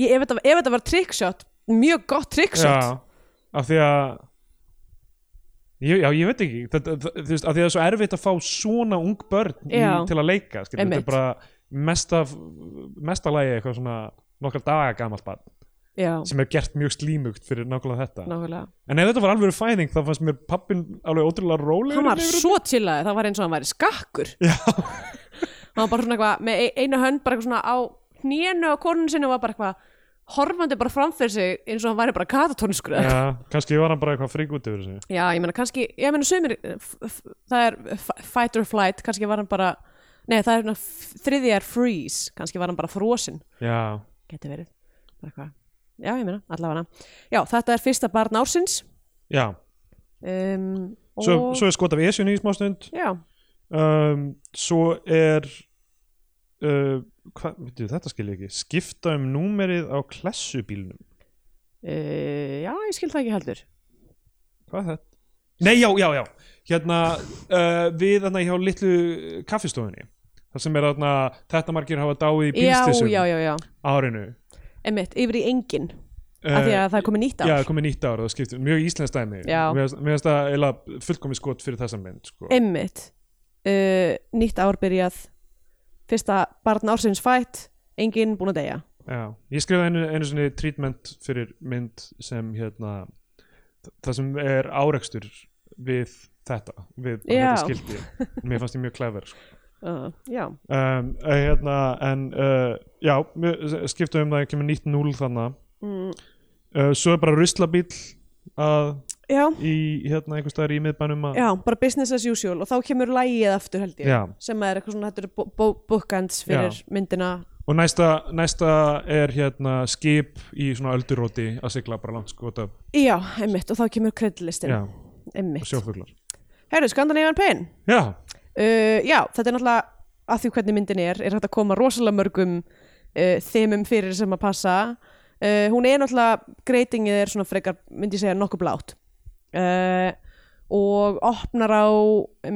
ég, ef, þetta, ef þetta var trickshot Mjög gott trickshot af því að ég, já, ég veit ekki þetta, það, þú veist, af því að það er svo erfitt að fá svona ung börn í, Já. til að leika skilur, þetta Einmitt. er bara mesta mesta lagi eitthvað svona nokkra daga gamalt bann Já, sem er gert mjög slímugt fyrir nákvæmlega þetta nákvæmlega en ef þetta var alveg fæðing þá fannst mér pappin alveg ótrúlega rólegur Hann var yfir svo chillaður, það var eins og hann væri skakkur Já Hann var bara svona eitthvað Með e- eina hönd bara eitthvað svona á Hnénu á konun sinni og var bara eitthvað Horfandi bara framfyrir sig eins og hann væri bara katatónskur Já. Já, kannski var hann bara eitthvað frík út yfir þessu Já, ég meina kannski Ég meina sumir f- f- Það er f- fight or flight Kannski var hann bara Nei, það er svona f- þriðja er freeze Kannski var hann bara frosinn Já, geti verið bara eitthvað já ég meina allavega já þetta er fyrsta barn ársins já um, og Svo, svo er skot af Esjunni í smástund já um, Svo er uh, Hvað, veitum þetta skil ég ekki Skipta um númerið á klessubílnum uh, já ég skil það ekki heldur Hvað er þetta? Nei, já, já, já Hérna, uh, við þarna hjá litlu kaffistofunni Það sem er þarna, þetta margir hafa dáið í já já bílstisum já já árinu emitt yfir í engin uh, af því að það er komið nýtt ár Já, komið nýtt ár, það skiptir mjög íslenskt dæmi Já. Mér finnst- mér finnst það eiginlega fullkomið skot fyrir þessa mynd sko. emitt uh, nýtt ár byrjað fyrsta barn ársins fætt enginn búin að deyja Já, ég skrifaði einu, einu sinni treatment fyrir mynd sem hérna þ- það sem er árekstur við þetta, við bara Já. þetta skildi mér fannst ég mjög clever sko. uh, já, um, eh, hérna, en uh, já, mjö- skiptum um það kemur nýtt núl þannig mm, uh, svo er bara ruslabíl að já, í hérna einhvers staðar í miðbænum að já, bara business as usual og þá kemur lægið aftur held ég Já. sem er eitthvað svona, þetta eru bó- bó- bookends fyrir Já. myndina og næsta, næsta er hérna skip í svona ölduróti að sigla bara langt skota já, einmitt, og þá kemur kreddlistin já, og einmitt, sjófuglar herru, Scandinavian Pain já, uh, já, þetta er náttúrulega að því hvernig myndin er, er hægt að koma rosalega mörgum uh, þemum fyrir sem að passa uh, hún er náttúrulega greitingið er svona frekar, myndi ég segja, nokkuð blátt uh, og opnar á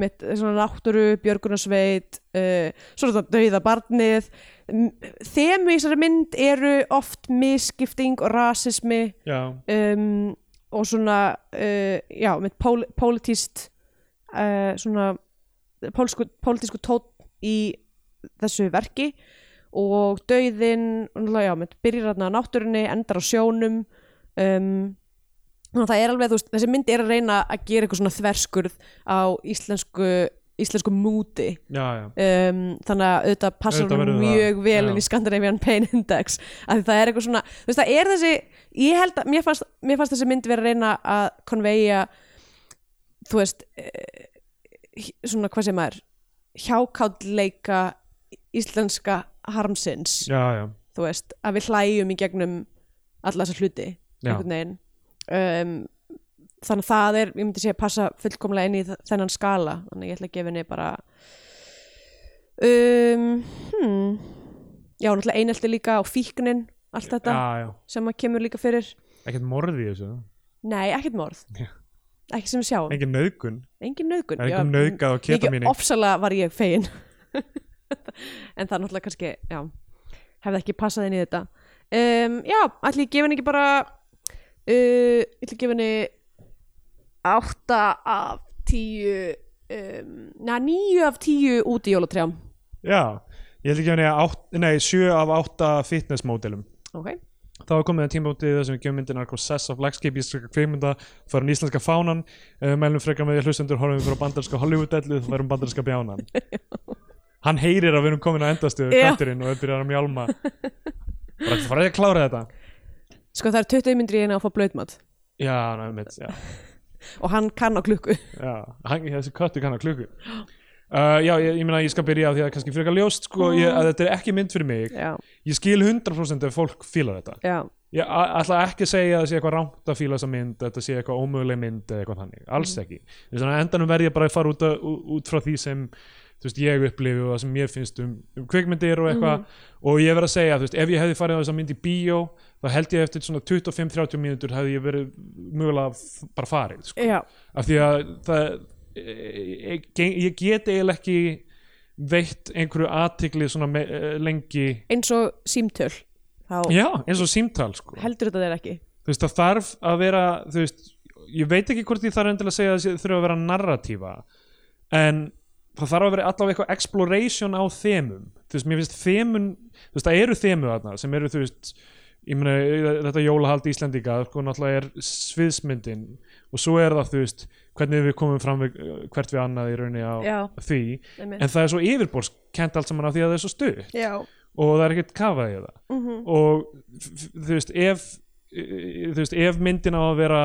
mitt, svona náttúru, björgunarsveit uh, svona þetta dauða barnið M- þemu í þessari mynd eru oft misskipting og rasismi já um, og svona uh, já, með pól, pólitíst uh, svona pólsku, pólitísku tótt í þessu verki og dauðinn, og náttúrulega, já, með byrjar þarna á náttúrunni, endar á sjónum um, þannig að það er alveg þú veist, þessi mynd er að reyna að gera eitthvað svona þverskurð á íslensku íslensku múti já, já, um, þannig að auðvitað passar Auðvitað hún verður mjög það, vel já. inn í Scandinavian Pain Index af því það er eitthvað svona, þú veist það er þessi ég held að, mér fannst, mér fannst þessi mynd vera að reyna að konveja þú veist eh, hj- svona hvað sem er hjákáttleika íslenska harmsins já, já. þú veist, að við hlæjum í gegnum alla þessa hluti Já. einhvern veginn um, þannig að það er, ég myndi segja, passa fullkomlega inn í þ- þennan skala þannig að ég ætla að gefa henni bara um, hmm. já, náttúrulega einelti líka og fíknin, allt þetta já, já. sem að kemur líka fyrir ekkert morð í þessu nei, ekkert morð, Já. ekki sem við sjáum engin nauðgun, engin nöðgun það er einhver nauðgað á mikið ketamíni ofsalega var ég fegin en það er náttúrulega kannski já, hefði ekki passað inn í þetta um, já, ætli ég gefa henni ekki bara uh, ætli ég gefa henni 8 af 10 um, na, 9 af 10 út í jólatrjám já, ég held ekki að henni að átt, nei, 7 af 8 fitness módelum ok, þá er komið að tímabótið þar sem við gefum myndin Arko Sess af lagskip í íslenska kveikmynda fyrir íslenska fánan, uh, mælum frekar með því að hlustendur horfum við frá bandarinska Hollywood-dellu þá verðum bandarinska bjánan hann heyrir að við erum komin að endastu Já. katturinn og við byrjar að mjálma bara farið að klára þetta sko það er 20 myndri hérna að fá blöðmat já, ná, um mitt, já og hann kann á klukku Já, hann, þessi köttu kannar klukku Uh, já, ég, ég meina ég skal byrja á því að kannski frekar ljóst sko, ég, að þetta er ekki mynd fyrir mig já, ég skil 100% ef fólk fílar þetta já, ég a- ætla ekki að segja að það sé eitthvað rámt að fíla þessa mynd, þetta sé eitthvað ómöguleg mynd eða eitthvað þannig, alls ekki mm. þannig að endanum verð ég bara að fara út, að, ú- út frá því sem þú veist, ég upplifi og það sem mér finnst um, um kvikmyndir og eitthvað og ég verð að segja, þú veist, ef ég hefði farið á þessa mynd í bíó þá held ég eftir svona 25-30 mínútur hefði ég verið mögulega f- bara farið sko já, af því að það, e- ég, ég get eiginlega ekki veitt einhverju aðtikli svona me, eh, lengi eins og símtöl þá já, eins og símtal sko. heldur þetta þér ekki þú veist það þarf að vera þú veist, ég veit ekki hvort ég þarf endilega að segja að það þurfa að vera narratífa en það þarf að vera allavega eitthvað exploration á þemum þú veist, mér finnst þemun þú veist, það eru þemu þarna sem eru þú veist ég meina, e, þetta jólahald Íslendinga sko, náttúrulega er sviðsmyndin og svo er það, þú veist, hvernig við komum fram við, hvert við annað í rauninni á Já. því, en það er svo yfirborskent allt saman af því að það er svo stutt já, og það er ekkert kafað í það mhm, og f- f- þú veist ef e, e, þú veist ef myndin á að vera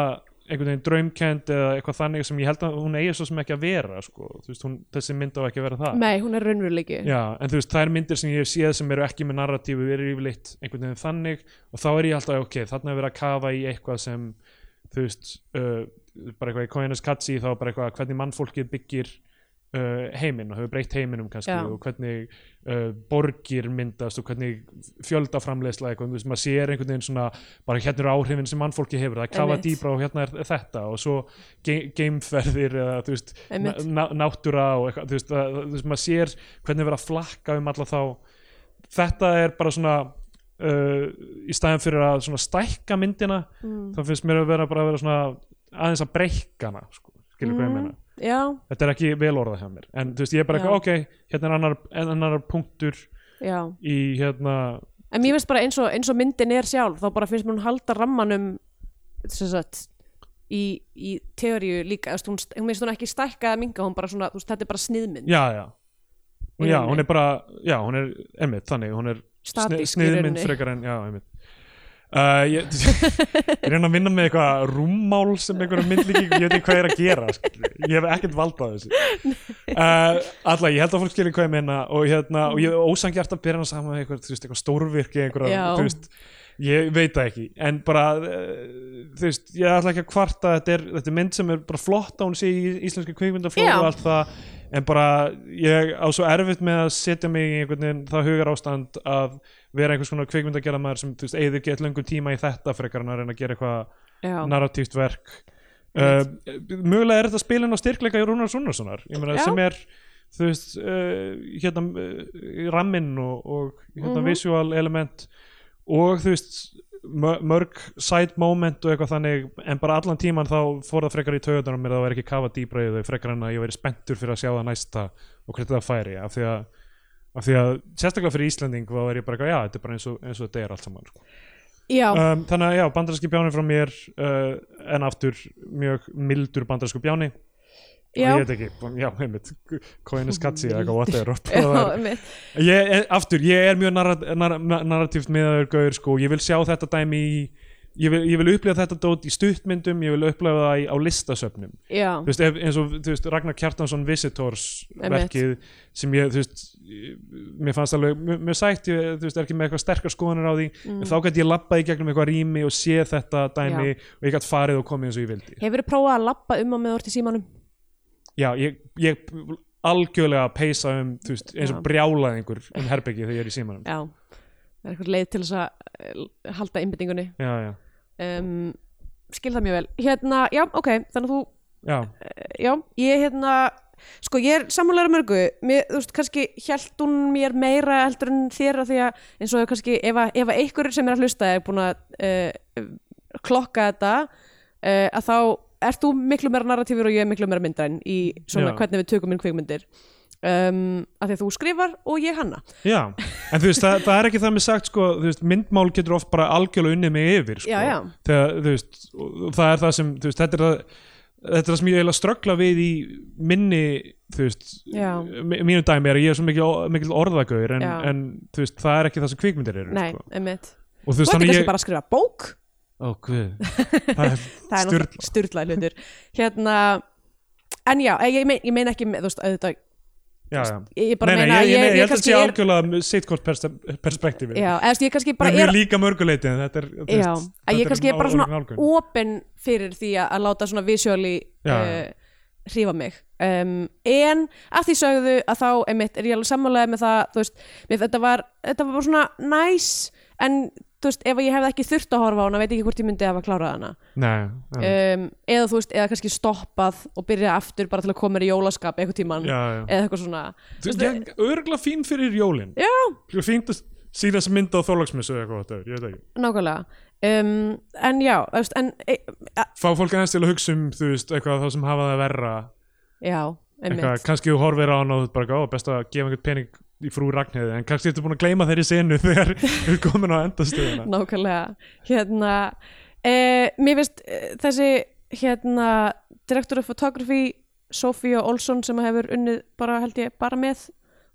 einhvern veginn draumkend eða eitthvað þannig sem ég held að hún eigi svo sem ekki að vera sko. þú veist hún, þessi mynd á ekki að vera það nei, hún er raunveruleiki Já, en þú veist, þær myndir sem ég hef séð sem eru ekki með narratífu eru yfirleitt einhvern veginn þannig og þá er ég alltaf, ok, þarna er verið að kafa í eitthvað sem, þú veist uh, bara eitthvað í Koinas Katsi þá bara eitthvað hvernig mannfólkið byggir uh, heiminn og hefur breytt heiminum kannski Já. og hvernig uh, borgir myndast og hvernig fjöldaframleiðsla eitthvað, þú veist, maður sér einhvern veginn svona bara hérna eru áhrifin sem mannfólkið hefur það er kafa Einmitt. dýbra og hérna er þetta og svo ge- geimferðir eða þú veist Einmitt. ná- ná- náttúra og eitthvað þú veist, að, þú veist maður sér hvernig verið að flakka um alla þá þetta er bara svona uh, í staðin fyrir að svona stækka myndina Mm. þá finnst mér að vera bara að vera svona aðeins að breykka hana sko, skilur hvað ég Mhm. meina já, þetta er ekki vel orðað hjá mér en þú veist, ég er bara Já. eitthvað, ok, hérna er annar, annar punktur já í hérna en mér finnst bara eins og, eins og myndin er sjálf þá bara finnst mér hún halda rammanum sem sagt í, í teoríu líka, þú veist, hún, st- hún finnst hún ekki stækka að minga, hún bara svona, þú veist, þetta er bara sniðmynd já, já, Í já, rauninni. hún er bara já, hún er, emmitt, þannig, hún er sni- statísk í sniðmynd rauninni frekar en, já, emmitt Uh, ég, ég reyna að vinna með eitthvað rúmmál sem einhverjum myndlíking, ég veit ekki hvað ég er að gera skilurðu. ég hef ekkert vald á þessu uh, Alla, ég held að fólk skilja hvað ég meina og, hérna, og ég er ósangjart að byrja hana saman með eitthvað, þú veist, eitthvað stórvirki einhverja, Já. þú veist, ég veit það ekki en bara, uh, þú veist ég ætla ekki að kvarta, þetta er, þetta er mynd sem er bara flott að hún sé í íslenska kvikmyndaflóð Já. og allt það, en bara ég á svo erfitt með að setja mig í einhvern veginn það hugar ástand að vera einhvers konar kvikmyndagerðamaður sem, þú veist, eigður gett löngum tíma í þetta frekar en að reyna að gera eitthvað Já. narratíft verk uh, mögulega er þetta spilin á styrkleika í Rúnar Sunnarssonar ég meina Já. sem er þú veist uh, hérna uh, ramminn og, og Mhm. hérna visual element og þú veist mö- mörg side moment og eitthvað þannig en bara allan tíman þá fór það frekar í taugunum mér að það var ekki kafað dýbra í þau frekar en að ég væri spenntur fyrir að sjá það næsta og hvernig það færi af því að, af því að sérstaklega fyrir Íslanding þá er ég bara, eitthvað, já, þetta er bara eins og, eins og þetta er allt saman sko já, um, þannig að já, bandarinski bjáni frá mér uh, en aftur mjög mildur bandarinsku bjáni já, ég veit ekki, já, einmitt Koinis Katsi eða eitthvað whatever já, Það er- einmitt. ég, en aftur, ég er mjög narrat, nar, nar- narratíft meðaður gaur sko, ég vil sjá þetta dæmi í Ég vil, ég vil upplifa þetta dót í stuttmyndum, ég vil upplifa það í, á listasöfnum já, þú veist, ef, eins og þú veist, Ragnar Kjartansson Visitors Einmitt. verkið sem ég, þú veist ég- mér fannst alveg mjög mjög sætt, ég þú veist, er ekki með eitthvað sterkar skoðanir á því en Mm. þá gæti ég labbað í gegnum eitthvað rými og sé þetta dæmi og ég gæti farið og komið eins og ég vildi hefur þið prófað að lappa um á með orð til símanum já, ég, ég algjörlega peysa um, þú veist, eins og Já. brjálaðingur um herbergi þegar ég er í símanum já, það er eitthvað leið til þess að eh, halda einbyttingunni já, já, um, skil það mjög vel hérna, já, ok, þannig að þú já, já, ég hérna sko, ég er sammálega mörgu mér, þú veist, kannski hjælt hún mér meira heldur en þér að því að eins og kannski ef, að- ef að einhverjur sem er að hlusta er búin að uh, klokka þetta uh, að þá ert þú miklu meira narratífur og ég er miklu meira myndræn í svona Já. hvernig við tökum inn kvikmyndir um, að því að þú skrifar og ég hanna já en þú veist, það, það er ekki það með sagt sko, þú veist, myndmál getur oft bara algjörlega unnið mig yfir sko. já, já, þegar, þú veist, og það er það sem þú veist, þetta er það þetta er það sem ég eiginlega ströggla við í minni þú veist, Já. mi- mínu dæmi er að ég er svo mikil, mikil orðagaur en, Já. en þú veist, það er ekki það sem kvikmyndir eru nei, sko. einmitt og þú þú veist, ert þannig kannski ég bara að skrifa bók ó, guð, það er, það er náttúrulega styrla hlutur hérna, en já, eh, ég, mein, ég meina ekki með, þú veist, auðvitað já, já. ég bara Nei, nei, meina, ég, ég, nei, ég held að kannski sé er algjörlega sitt hvort perspektífi já, eða þú veist, ég kannski það bara er mjög er líka mörguleiti en þetta er, þú veist, já, þetta að ég kannski er bara svona ólík nálgun. opinn fyrir því að, að láta svona visjóli Já, uh, hrífa mig um, en að því sögðu að þá einmitt, er ég alveg sammálaði með það þú veist, mér, þetta, var, þetta var bara svona næs en þú veist, ef ég hefði ekki þurft að horfa á hana veit ég ekki hvort ég myndi hafa klárað hana Nei, já, um, eða þú veist, eða kannski stoppað og byrja aftur bara til að koma mér í jólaskap einhvern tíman, já, já. eða eitthvað svona Þú Þú veist, örgla fín fyrir jólin Já. Þú fínt að síðast mynda á þorlagsmissu eða eitthvað þetta er, ég veit ekki nákvæmlega um, en já, þú veist, en e, Fá fólk aðeins til að hugsa um, þú veist, eitthvað þá sem hafa það verra já, eitthvað, einmitt kannski þú horfir á hann og þú bara gá, best að gefa einhvern pening í frú ragnheði en kannski ertu búin að gleyma þeirri senu þegar þú er komin á endastöðuna nákvæmlega, hérna e, mér finnst e, þessi hérna, director of photography Sofía Olsson sem hefur unnið bara, held ég, bara með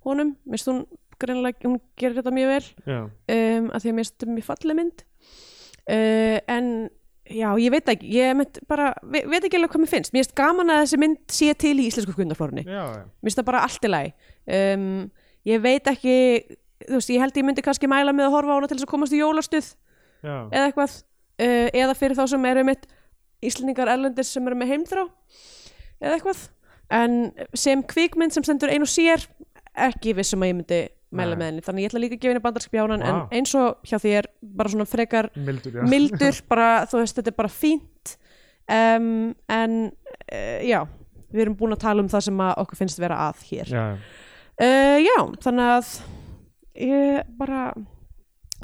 honum, mér finnst hún greinlega, hún gerir þetta mjög vel Já, um, að því að mér stum mjög falleg mynd uh, en já, ég veit ekki ég mynd bara, ve veit ekki alveg hvað mér finnst mér finnst gaman að þessi mynd sé til í íslensku kundaflórunni mér já, já, finnst það bara allt í lagi um, ég veit ekki þú veist, ég held ég myndi kannski mæla með að horfa á hana til þess að komast í jólastuð já. eða eitthvað uh, eða fyrir þá sem eru mitt íslendingar erlendis sem eru með heimþrá eða eitthvað en sem kvikmynd sem stendur ein og sér ekki vissum að ég myndi mæla Nei. með henni þannig ég ætla líka að gefa henni bandarsk bjánan Vá. en eins og hjá þér bara svona frekar mildur, já mildur bara þú veist þetta er bara fínt um, en uh, já við erum búin að tala um það sem að okkur finnst vera að hér Já, uh, já þannig að ég bara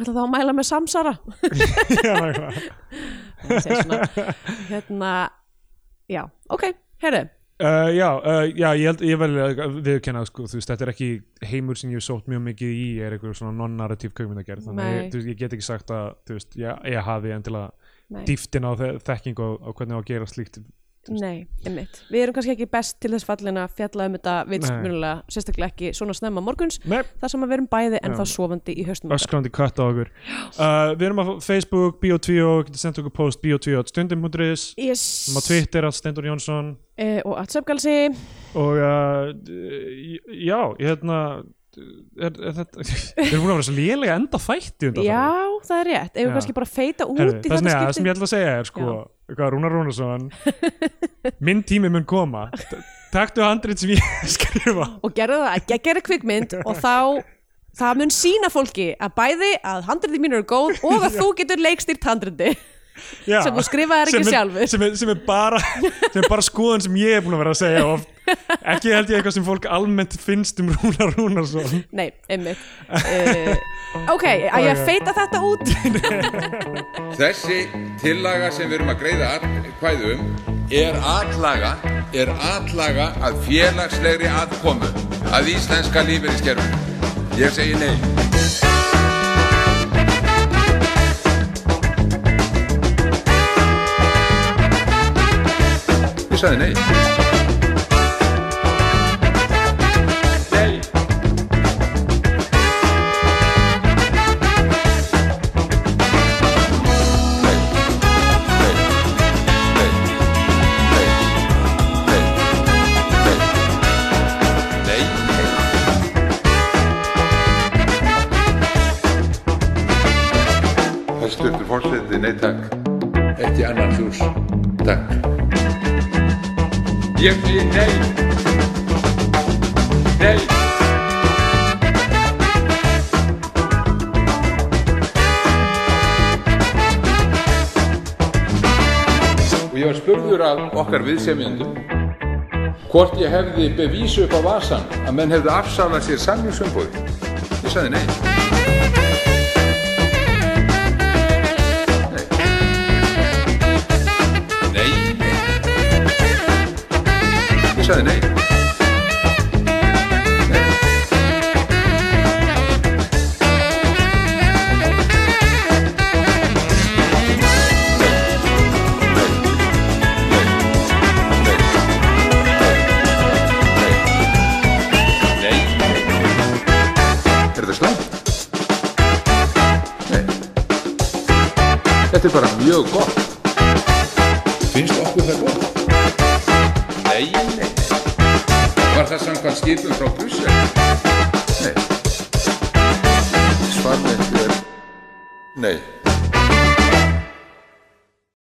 ætla þá að mæla með samsara já, já, Það segir svona, hérna, já, ok, herru Uh, já, uh, já, ég held, ég vel að viðkenna, sko, þú veist, þetta er ekki heimur sem ég hef sótt mjög mikið í, er einhver svona non-narratív kveikmyndagerð, þannig að Nei. ég, þú veist, ég get ekki sagt að, þú veist, ég, ég hafi endilega Nei. dýftin á þe- þekkingu á, á hvernig á að gera slíkt Nei, einmitt. Við erum kannski ekki best til þess fallin að fjalla um þetta vitsmunulega, sérstaklega ekki svona snemma morguns, Nei, þar sem að við erum bæði ennþá sofandi í höstum okkar. öskrandi kött á okkur uh, Við erum á Facebook, Bio2 getur sendt okkur post Bio2 at stundum.is Yes. Við erum á Twitter at Stendur Jónsson Eh, og atsefgalsi. og uh, d- já, ég hérna er, er þetta, við erum búin að vera svo lélega enda þætti undan Já, það er rétt. Ef Já. við kannski bara feita út Herri, í það, sem þetta ég, það sem skipti. ég ætla að segja er sko hvað, Rúnar Rúnarsson minn tími mun koma T- taktu handrit sem ég skrifa Og gerðu það að geggjara kvikmynd og þá það mun sína fólki að bæði að handriti mín eru góð og að þú getur leikstýrt handriti. Já, Sem þú skrifaðir ekki sem er- sjálfur. sem er, sem, er bara, sem er bara skoðan sem ég er búin að vera að segja oft ekki held ég eitthvað sem fólk almennt finnst um Rúnar Rúnarsson Nei, einmitt. Uh, ok, að ég að feita þetta út. Þessi tillaga sem við erum að greiða atkvæði um er atlaga, er atlaga að félagslegri atkomu að íslenska lífeyriskerfum. Ég segi nei. Ég sagði nei. Nei. Hæstvirtur fórseti, nei takk. Ekki annan hljús. Takk. Ég fyrir nei. Nei. Og ég var spurður af okkar viðsemjendum hvort ég hefði bevísu upp á vasan að menn hefði afsalað sér samljósumboði. Ég sagði nei. Nei. Ég sagði nei. Nei. Nei. Nei. Nei. Nei. Nei. Nei. Er þetta slæmt? Nei. Þetta er bara mjög gott. Finnst okkur það gott? Nei, nei. Var það samkvæmt skipum frá Brussel? Nei. Svarnið er nei.